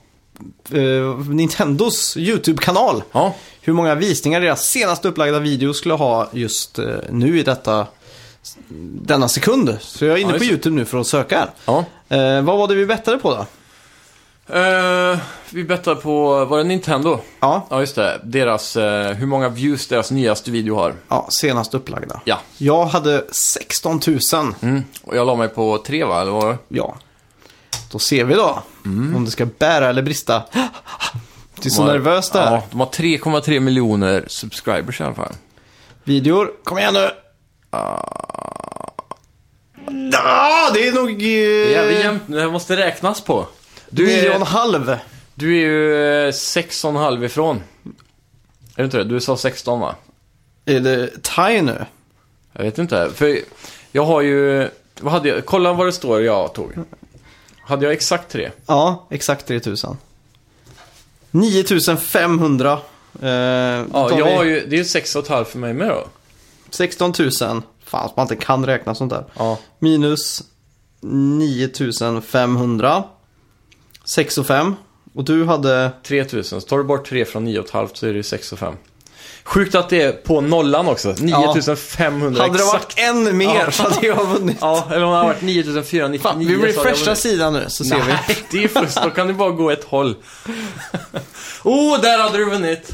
eh, Nintendos YouTube-kanal. Ja, hur många visningar deras senast upplagda video skulle ha just eh, nu i detta, denna sekund. Så jag är inne Ja, på just det. YouTube nu för att söka här. ja. Eh, vad var det vi bettade på då? Eh, vi bettar på, var det Nintendo? Ja, Ja, just det. Deras, eh, hur många views deras nyaste video har. ja senast upplagda. Ja. Jag hade 16 000. Mm. Och jag la mig på tre, va? Eller vad var det? Ja. Då ser vi då Mm. om det ska bära eller brista. [gasps] Det är så De har- nervöst där. Ja, de har 3,3 miljoner subscribers i alla fall. Videor, kom igen nu! Ah, det är nog... Det är jävligt Eh, jämnt. Det här måste räknas på. Du nio och en är, halv. du är ju eh, sex och en halv ifrån. Är det inte det? Du sa 16 va? Är det tie nu? Jag vet inte. För jag har ju... Vad hade jag? Kolla vad det står jag tog. Hade jag exakt tre? Ja, exakt 3000. 9500. Eh, Ja, tar vi jag har ju... Det är ju sex och ett halvt för mig med då. 16 000. Fan, man inte kan räkna sånt där. Ja. Minus 9500. 6 och 5. Och du hade... 3000. Så tar du bort tre från nio och ett halvt så är det ju sex och fem. Sjukt att det är på nollan också. 9500 Hade det exakt. varit en mer Ja. så hade jag vunnit. [laughs] Ja, eller om det har varit 9499 Fan, vi refreshar sidan nu så ser vi. Nej, det är fusk. Då kan det bara gå ett håll. oh, där hade du vunnit!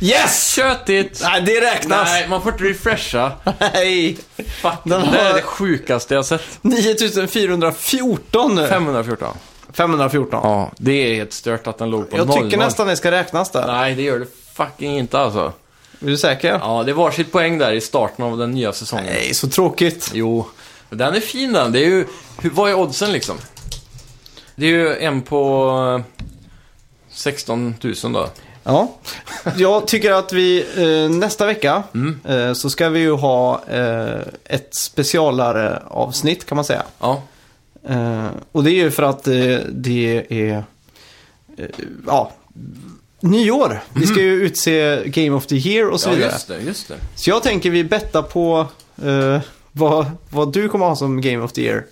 Yes! Tjötigt! Nej, det räknas. Nej, man får inte refresha. Nej. [laughs] Fuck, Den det här har- är det sjukaste jag sett. 9414 nu. 514. 514. Ja, det är helt stört att den låg på Jag 00. tycker nästan det ska räknas där. Nej, det gör det fucking inte alltså. Är du säker? Ja, det var sitt poäng där i starten av den nya säsongen. Nej, så tråkigt. Jo, den är fin den. Det är ju, hur, vad är oddsen liksom? Det är ju en på eh, 16 000 då. Ja, [laughs] jag tycker att vi eh, nästa vecka Mm. eh, så ska vi ju ha eh, ett specialare avsnitt kan man säga. Ja, Eh, och det är ju för att eh, det är eh, ja, nyår. Vi ska ju utse Game of the Year och så Mm. ja vidare. just det, just det. Så jag tänker vi bettar på eh, vad, vad du kommer ha som Game of the Year.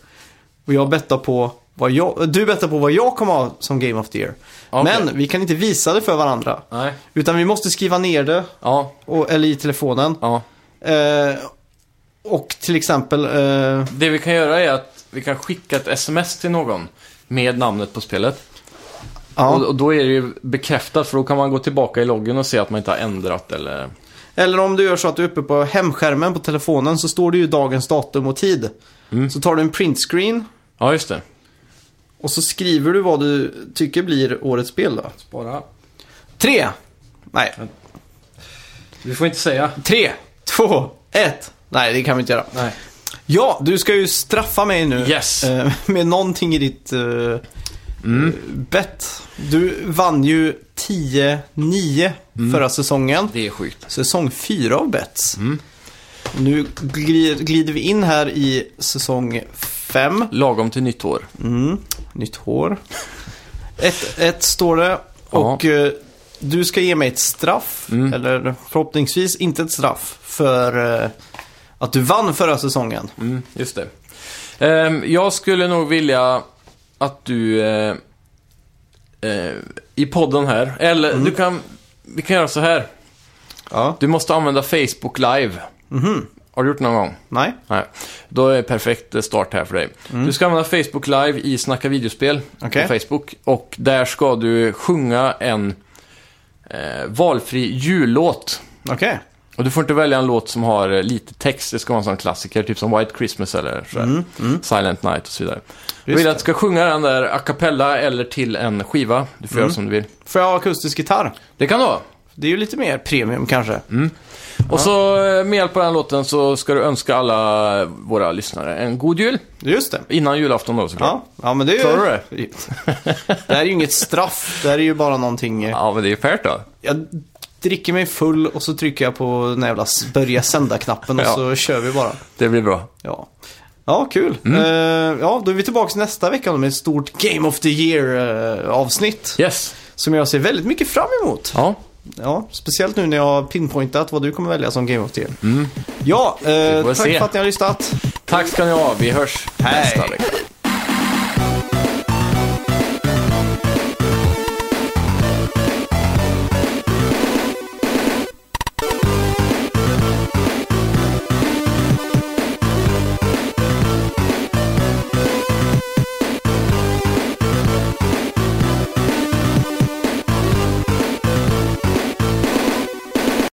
Och jag bettar på vad jag, du bettar på vad jag kommer ha som Game of the Year. Okej. Men vi kan inte visa det för varandra. Nej. Utan vi måste skriva ner det, Ja, och, eller i telefonen. ja. Eh, och till exempel, eh, Det vi kan göra är att vi kan skicka ett sms till någon med namnet på spelet. Och, ja, och då är det ju bekräftat för då kan man gå tillbaka i loggen och se att man inte har ändrat eller... Eller om du gör så att du är uppe på hemskärmen på telefonen så står det ju dagens datum och tid. Så tar du en printscreen Ja, just det. och så skriver du vad du tycker blir årets spel då. Spara. Tre! Nej, Vi får inte säga. tre, två, ett. Nej, det kan vi inte göra. Nej. Ja, du ska ju straffa mig nu. Yes. eh, Med någonting i ditt eh, eh, bett. Du vann ju 10-9 förra säsongen. Det är sjukt. Säsong 4 av bets. Nu glir- glider vi in här i säsong 5. Lagom till nytt år. Mm. Nytt hår. 1-1 står det. Ja. Och eh, du ska ge mig ett straff. Mm. Eller förhoppningsvis inte ett straff. För eh, att du vann förra säsongen. Mm, just det. Ehm, jag skulle nog vilja att du eh, eh, i podden här, eller du kan, vi kan göra så här. Ja. Du måste använda Facebook Live. Har du gjort någon gång? Nej. Nej. Då är det perfekt start här för dig. Du ska använda Facebook Live i Snacka videospel Okej. på Facebook. Och där ska du sjunga en eh, valfri jullåt. Okej. Och du får inte välja en låt som har eh, lite text. Det ska vara en sån klassiker, typ som White Christmas eller sådär. Silent Night och så vidare. Jag vill det. att du ska sjunga den där a cappella eller till en skiva. Du får göra som du vill. Får jag ha akustisk gitarr? Mm. Det kan du ha. Det är ju lite mer premium kanske. Mm. Och så eh, med hjälp av den låten så ska du önska alla våra lyssnare en god jul. Just det. Innan julafton då såklart. Ja, ja men det är ju... Klarar du [laughs] det? här är ju inget straff. Det här är ju bara någonting... eh, Ja, men det är ju fairt då. Jag dricker mig full och så trycker jag på den här jävla s- börja sända-knappen och Ja. så kör vi bara. Det blir bra. Ja, ja kul. Mm. Eh, ja, då är vi tillbaka nästa vecka med ett stort Game of the Year-avsnitt. Yes. Som jag ser väldigt mycket fram emot. Ja. Ja, speciellt nu när jag har pinpointat vad du kommer välja som Game of the Year. Ja, eh, Mm. får tack se. för att ni har lyssnat. Tack ska ni ha. Vi hörs Hej. nästa vecka.